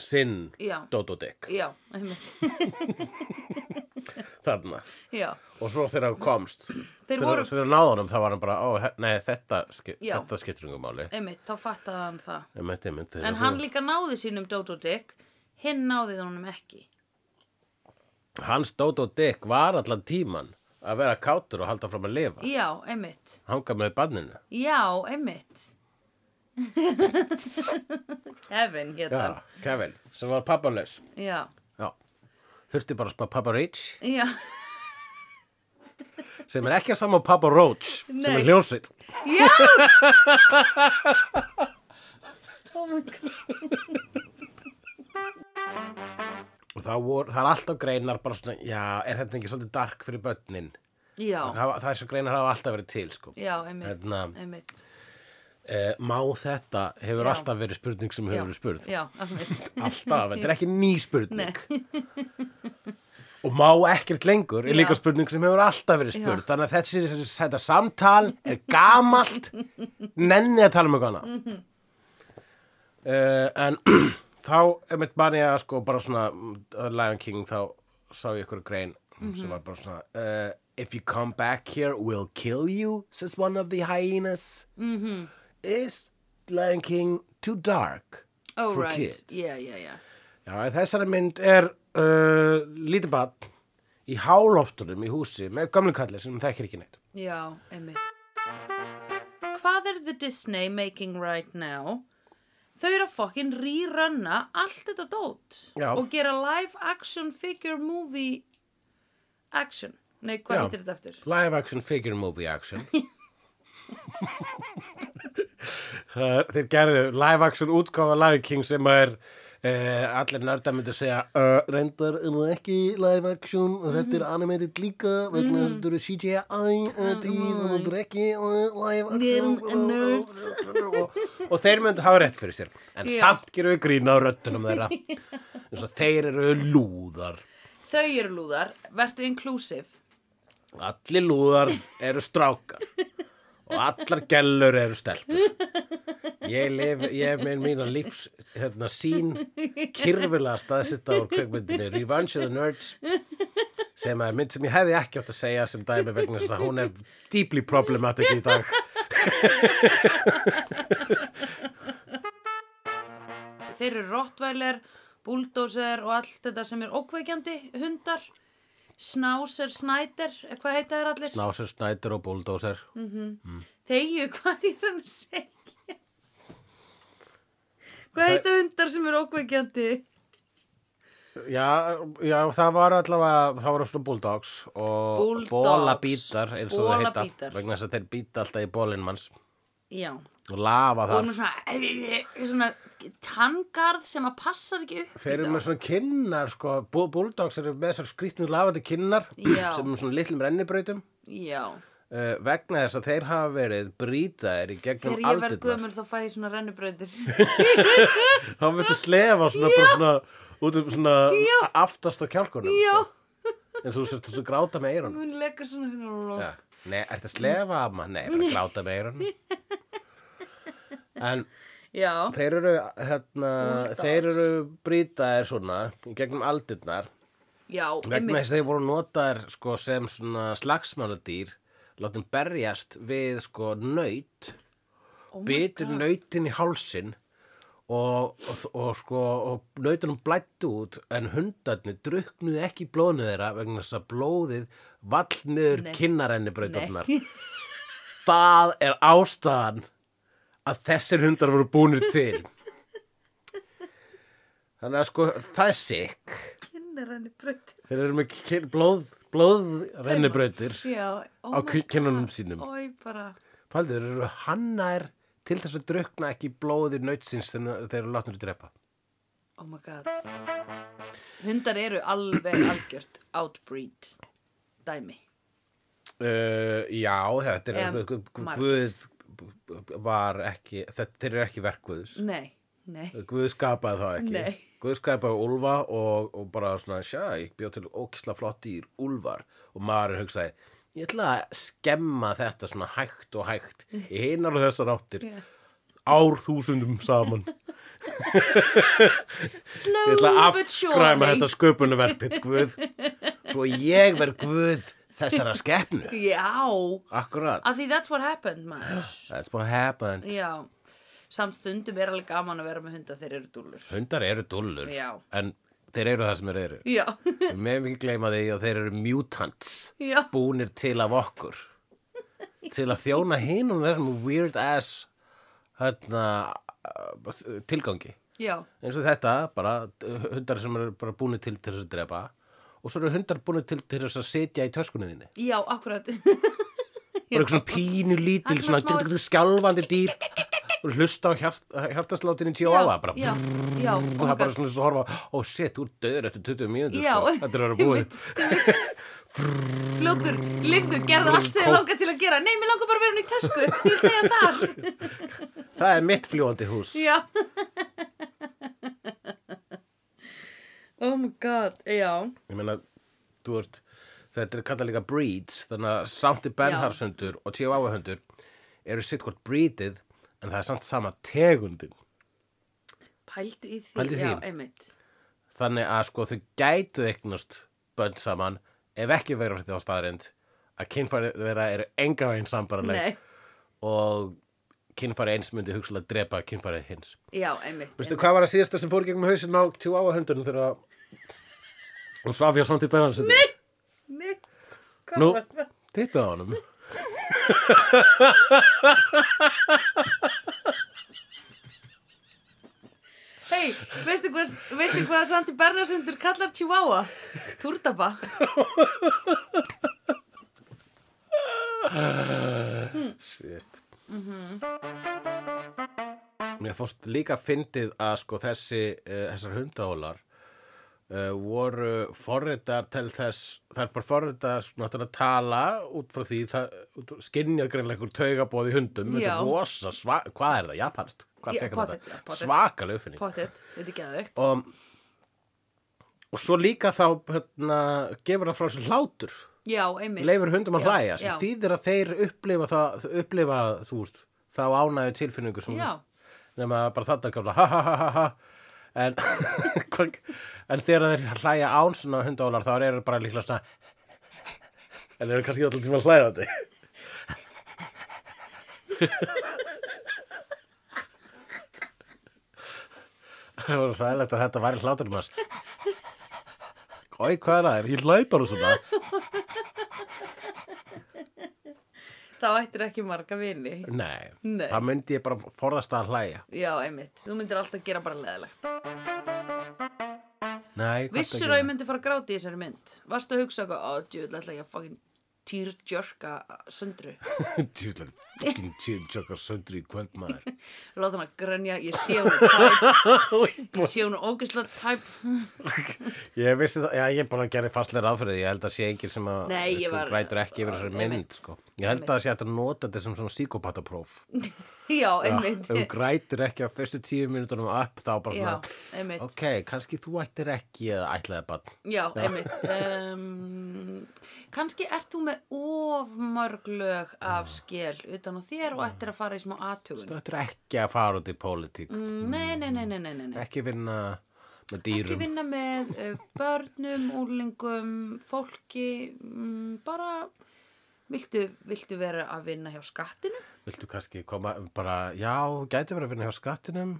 sinn
Já,
Dodo Dick
já, einmitt,
þarna
já.
og svo þegar hann komst
Þeir
þegar,
voru-
þegar náðunum þá var hann bara ó, he- nei, þetta, ski-
Já.
þetta skiptir yngur máli
Einmitt, þá fattaði hann það.
einmitt, einmitt,
En hann líka náði sínum Dodo Dick, hinn náði honum ekki.
hans Dodo Dick var allan tíman að vera kátur og halda fram að lifa
Já, einmitt.
hanga með banninu
Já, einmitt. Kevin hétt hann.
já, Kevin, sem var pappalaus
Já,
já. þurfti bara að spá pappa Rich
já,
sem er ekki að sama og pappa Roach sem
Nei.
er hljónsitt
já.
og það, vor, það er alltaf greinar bara svona, já, er þetta ekki svolítið dark fyrir börnin
Já,
það, þessu greinar hafa alltaf verið til sko.
já, einmitt,
Hérna.
einmitt.
eh, má þetta hefur
Já.
alltaf verið spurning sem
Já,
hefur verið spurð
Já, einmitt.
alltaf, þetta er ekki ný spurning og má ekkert lengur er
Já.
líka spurning sem hefur alltaf verið
Já.
spurð þannig að þessi, þessi, þetta samtal er gamalt nenni að tala um eitthvað annað
Mhm.
uh, en þá er mitt manni að sko bara svona mm, uh, Lion King þá sá ég ykkur grein
Mhm.
sem var bara svona uh, if you come back here we'll kill you says one of the hyenas
Mhm.
is Lion King too dark
All
for
right,
kids.
já, já, já.
Já, en þessari mynd er uh, lítið barn í háloftunum í húsi með gamlu kalli sem þekkir ekki neitt.
Já, einmitt. Hvað er The Disney making right now? Þau eru að fokkin rýranna allt þetta dót
Já.
og gera live action figure movie action. Nei, hvað
Já.
heitir þetta eftir?
Live action figure movie action. Það er- Þeir gerðu live action útgáfa Lion King sem er Uh, allir nördar myndi segja uh, reyndar er það ekki live action
Mhm.
og þetta er animated líka vegna mm -hmm. þetta eru CGI uh, tíð og þetta er ekki uh, live action
Mhm. erum nerds.
og, og þeir myndi hafa rétt fyrir sér en
Já.
samt gerum við grína á röddunum þeirra eins og þeir eru lúðar
Þau eru lúðar, vertu inclusive.
allir lúðar eru strákar og allar gellur eru stelpur ég lif, ég er með mína lífs hérna sín kyrfilega staðsitta úr kveikmyndinu Revenge of the Nerds sem er mynd sem ég hefði ekki átt að segja sem dæmi vegna þess að hún er deeply problematic í dag
Þeir eru rottvæler, bulldozer og allt þetta sem er ókveikjandi hundar. Snáser, snæder, eh, hvað heita þeir allir?
Snásir, Snæder og Bulldozer
Þegju, hvað er hann að segja? Hvað heita hundar sem er ókveikjandi?
Já, já, það var allavega, það var svona bulldogs og
Bulldogs,
bólabítar eins og það heita,
bolabítar.
vegna þess að þeir býta alltaf í bólinn manns
Já,
og lafa
og
það.
með svona, eh, svona tangarð sem að passar ekki upp í
Þeir eru
þá.
með svona kinnar, sko, bú- bulldogs eru með svona skrýtnu lafandi kinnar
Já.
sem er svona litlum rennibrautum
Já,
uh, vegna þess að þeir hafa verið brýtaðir í gegnum
þegar ég verð
aldirnar.
gömul þá fæ ég svona rennubrautir.
Þá myndu slefa svona, bara svona, út um svona aftast á kjálkunum,
Já,
sko, eins og þú sérst svona gráta með eyrunum.
hún leggur svona hérna og
Já. Nei, ertu að slefa amma? Nei, bara gláta með eyrunum. En
Já,
þeir eru, hérna,
Bulldogs.
þeir eru brýtaðir svona í gegnum aldirnar
já,
vegna þess að þeir voru notaðir sko, sem svona slagsmáladýr látum berjast við sko nöyt
Oh my
bitur
God.
nöytin í hálsin og, og, og sko og nöytunum blættu út en hundarnir druknuðu ekki í blóðinu þeirra vegna þess að blóðið vall niður
Nei.
kinnarennibrautarnar það er ástæðan að þessir hundar voru búnir til þannig að sko það er sikk
Kinnar henni bröttir.
Þeir eru með kyn, blóð, blóðrennibrautir
Já, oh
á
my
ki- kinnunum
God.
sínum.
Ói, bara,
Paldur, þeir eru hannar til þess að drukna ekki blóði nautsins þegar þeir eru látnir að drepa.
oh my god. Hundar eru alveg algjört outbreed dæmi.
Uh, já, þetta er,
Em,
gu- gu-
margir.
Guð var ekki, þetta, þeir eru ekki verk Guðs.
Nei, nei.
Guð skapaði það ekki.
Mm. Nei.
Guð skapaði úlfa og, og bara svona, sjá, ég bjóð til ókisla flott dýr, úlfar. Og maður hugsaði, ég ætla að skemma þetta svona hægt og hægt í hinar og þessar áttir.
Já.
Ár þúsundum saman. Ég
Slow
ætla að
but
afskræma
surely.
þetta sköpunverfið, Guð. Svo ég verð Guð þessara skepnu.
Já,
Akkurat.
að því that's what happened, maður.
That's what happened.
Já, samt stundum er alveg gaman að vera með hunda þeir eru dúllur.
Hundar eru dullur.
Já.
En þeir eru það sem þeir eru.
Já,
Við meðum ekki gleyma því að þeir eru mutants.
já,
Búnir til af okkur. Til að þjóna hinn og þessum weird ass hérna, uh, tilgangi.
já,
eins og þetta, bara uh, hundar sem eru bara búinu til til þess að drepa og svo eru hundar búinu til til þess að sitja í töskunni þinni
já, akkurat.
bara eitthvað svona pínu lítil,
Hann er
svona
smá-
smá... skjálfandi dýr og hlusta á hjart, hjartaslátinni tíu áfa bara
Já, já, oh
það
my
er bara
god.
svona svo horfa ó, shit, þú er döður eftir 20 mínútur
Já,
sko. þetta er að vera búið
einmitt, einmitt. Fljótur, lifðu, gerðu allt sem þið langar til að gera Nei, mér langar bara að vera hún í tösku Ég vil degja þar
það er mitt fljóandi hús
Já Oh my god, já
ég meina, þú veist þetta er kallað líka breeds þannig að Santi Bernharsundur og tíu áfa hundur eru sitt hvort breedið en það er samt sama tegundin
Pældu í því,
Pældu í
já,
því.
einmitt
þannig að sko þau gætu eignast bönn saman ef ekki verður þetta á staðrind að kynfæri þeirra eru enga veginn sambarleg
Nei,
og kynfæri eins myndi hugsalega drepa kynfæri hins
já, einmitt
Veistu hvað var að síðasta sem fór í gegnum hausinn á tjú áa hundunum þegar hún svaf hjá samt í bennansindu? Nei!
Nei,
Nú,
hvað var
tippið á honum.
Hei, veistu hvað, veistu hvað Sandi Bernarsundur kallar Chihuahua? Túrdaba
Shit. Mér fórst líka fyndið að sko þessi, uh, þessar hundahólar uh, voru forritar til þess, það er bara forritar náttúrulega að tala út frá því, það út- skynjar greinlega einhver taugabóð í hundum, þetta
Já.
er rosa, sva, hvað er það, japanst? Hvað
Já,
fekk hann
pottet,
þetta?
já, pottet.
Svakaleg uppfinning
Pottet, þetta er geðveikt
og, og svo líka þá hérna, gefur það frá sér hlátur
Já, einmitt
leifur hundum að
Já,
hlæja
já.
sem þýðir að þeir upplifa, það, upplifa þú veist, þá ánægju tilfinningu sem
Já,
nema bara þetta kjála ha ha ha ha ha en, hvað- en þegar þeir hlæja án svona hundólar þá eru þeir bara líklega svona en þeir eru kannski alltaf tíma að hlæja þetta það var hlæðilegt að þetta væri hlátur um hans Ói, hvað er það? þér? Ég hlæ bara svona.
þá ættir ekki marga vini
Nei,
Nei.
það myndi ég bara forðast að hlæja.
Já, einmitt, þú myndir alltaf gera bara leðilegt
Nei, hvað
Vissur að ég myndi fara að gráta í þessari mynd Varstu að hugsa eitthvað, ó, djúvill, ætla ég að fucking týrjörka söndru
Djúlega fucking tjörnjökkar söndri í kvöld maður.
Láta hann að grönja, ég sé hún tæp
Oj,
Ég sé hún ógislega tæp
Ég vissi það, já ég bara gerði fastlega ráð fyrir því, ég held að sé enginn sem að
Nei, ég
sko,
var-
grætur ekki yfir þessari
Einmitt.
mynd, sko. Ég held að það sé hægt að nota þetta sem svona psíkopatapróf.
já,
Ef
einmitt.
þú grætir ekki á fyrstu tíu mínútunum upp þá bara
Já,
svona,
einmitt.
ok, kannski þú ættir ekki eða ætlaði bara,
Já, einmitt. Um, kannski ert þú með of mörg lög af skél utan á þér og ættir að fara í smá
þú
aðtugun.
ættir ekki að fara út í pólitík,
Mm, Nei, nei, nei, nei, nei, nei, nei.
ekki um. vinna með
Ekki
dýrum,
vinna með uh, börnum, úrlingum, fólki, mm, bara viltu, viltu vera að vinna hjá skattinu?
viltu kannski koma bara, já, gæti verið að vinna hjá skattinum,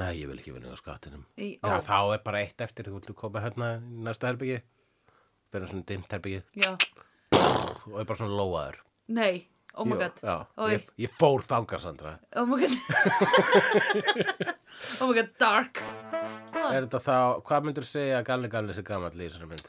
nei, ég vil ekki vinna hjá skattinum,
Í, ó,
já, þá er bara eitt eftir, þú viltu koma hérna í næsta herbyggi, fyrir svona dimmt herbyggi
já.
og er bara svona lóaður.
Nei, oh my
Jú,
god.
Já,
Oj.
ég, ég fór þangað, Sandra.
Oh my god. oh my god, dark. Ah.
Er þetta þá, hvað myndur segja að Galli Galli sé gamall í þessari mynd?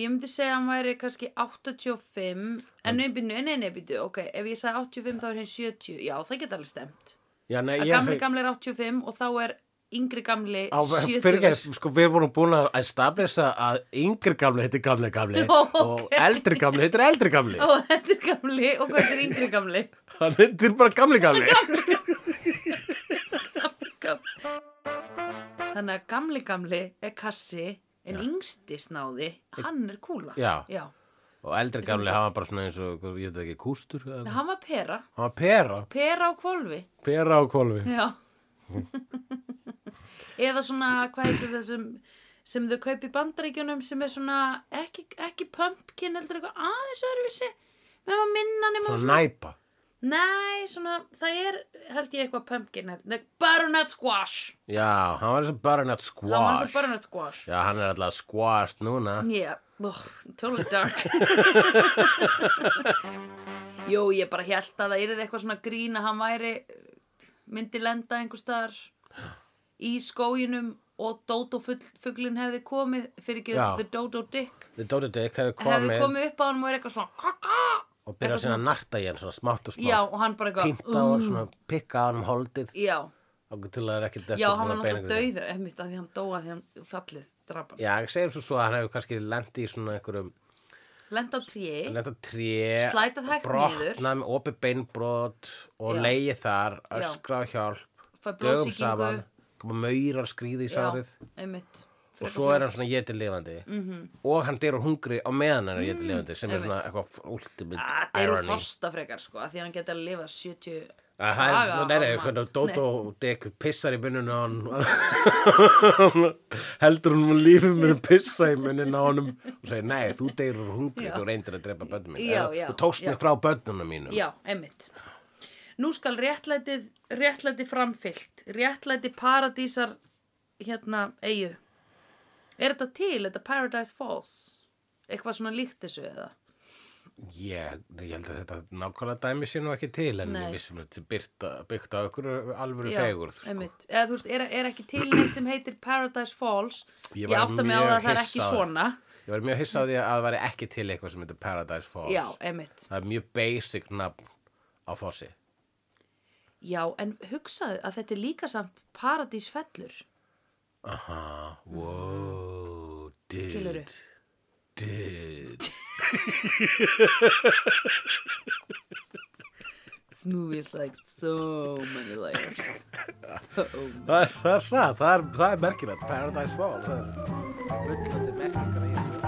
Ég myndi segja að hann væri kannski 85, en nei, byrju, nei, nei, nei, byrju, ok, ef ég sagði 85 þá er hinn 70, já, það geta alveg stemt.
Já, nei,
Að
ég
gamli gamli er 85 og þá er yngri gamli
Á,
70.
fyrir ekki, sko, við vorum búin að establisa að yngri gamli heitir gamli gamli
Ó, ok.
og
Oh.
eldri gamli heitir eldri gamli.
Og þetta er gamli og hvað er yngri gamli?
Hann heitir bara gamli gamli.
Þannig að gamli gamli er kassi, en yngsti snáði, hann er kúla.
Já.
Já.
Og eldri gamli, hann var bara svona eins og, ég veit ekki, kústur? eða
Nei,
eitthvað.
Hann var pera,
Hann var pera,
pera á kvolfi.
pera á kvolfi.
Já Eða svona, hvað heitir þessum sem þau kaup í bandaríkjunum sem er svona ekki, ekki pumpkin heldur eitthvað aðeins öðruvísi með maður minna nema
Svo næpa.
Nei, svona, það er held ég eitthvað pumpkin held- Nei, Baronet squash
Já, hann var eins og baronet squash.
Það var svo baronet squash
Já, hann er alltaf squashed núna.
Yeah, oh, totally dark Jó, ég bara held að það yrði eitthvað svona grín að hann væri myndi lenda einhver staðar í skóginum og Dodo-fuglin hefði komið fyrir ekki
Já.
The Dodo Dick
The Dota Dick hefði
hefði
komið
komið upp á hann og er eitthvað svona kaka
og byrjað síðan að narta í hann svona smátt og smátt.
Já, og hann bara eitthvað
pínta og svona pikka á hann um holdið
Já,
og til að það er ekki
já, hann var náttúrulega dauður einmitt að því hann dóa því hann fallið drapan.
Já, ég segjum svo svo að hann hefur kannski lendi í svona einhverjum
Lenda á tríi
lendi á tré
Slætað hægt
brotnað með opið beinbrot og
Já.
leiði þar,
Já.
öskra á hjálp
Fær
dögum
blóðsýkingu.
saman, koma maurar skríði í sárið
Já, einmitt
og
Frekar Mhm.
svo er hann svona getið lifandi -hmm. og hann deyr á hungri á meðan hann er getið lifandi sem er svona
Mm, einmitt.
eitthvað ultimate
Ah, Það eru
irony
frosta frekar sko, af því að hann geti að lifa 70
Að Það er,
daga
nei, nei,
án
hvernig
mats.
Dótó Dick pissar í munnuna á hann heldur hún um lífið mér að pissa í munnuna á hann og segir, nei, þú deyrur hungri,
Já.
þú reyndir að drepa börnum mín
Já, já,
þú tókst
já.
mig frá börnunum mínum
Já, einmitt Nú skal réttlætið, réttlæti framfyllt Réttlæti paradísar hérna, eigu Er þetta til, þetta Paradise Falls? Eitthvað svona líkt þessu eða?
ég, ég held að þetta nákvæmlega dæmi sé nú ekki til en
Nei.
ég vissum að þetta er byrta, byggt á ykkur alvöru
Já,
fegurð sko.
einmitt Eða þú veist, er, er ekki til neitt sem heitir Paradise Falls
Ég
Ég,
var
átta mig á
mjög
það að það er
hissa
ekki
á því.
svona
ég var mjög hissa á því að það væri ekki til eitthvað sem heitir Paradise Falls
Já, einmitt
það er mjög basic nafn á fossi
Já, en hugsaðu að þetta er líka samt paradísfellur
Aha, wow, dude.
Skilurðu?
Dude.
This movie is like so many layers. So many.
Það er, það er satt, það er, það er merkilegt, Paradise Falls, það er fullandi merkingar í þessu.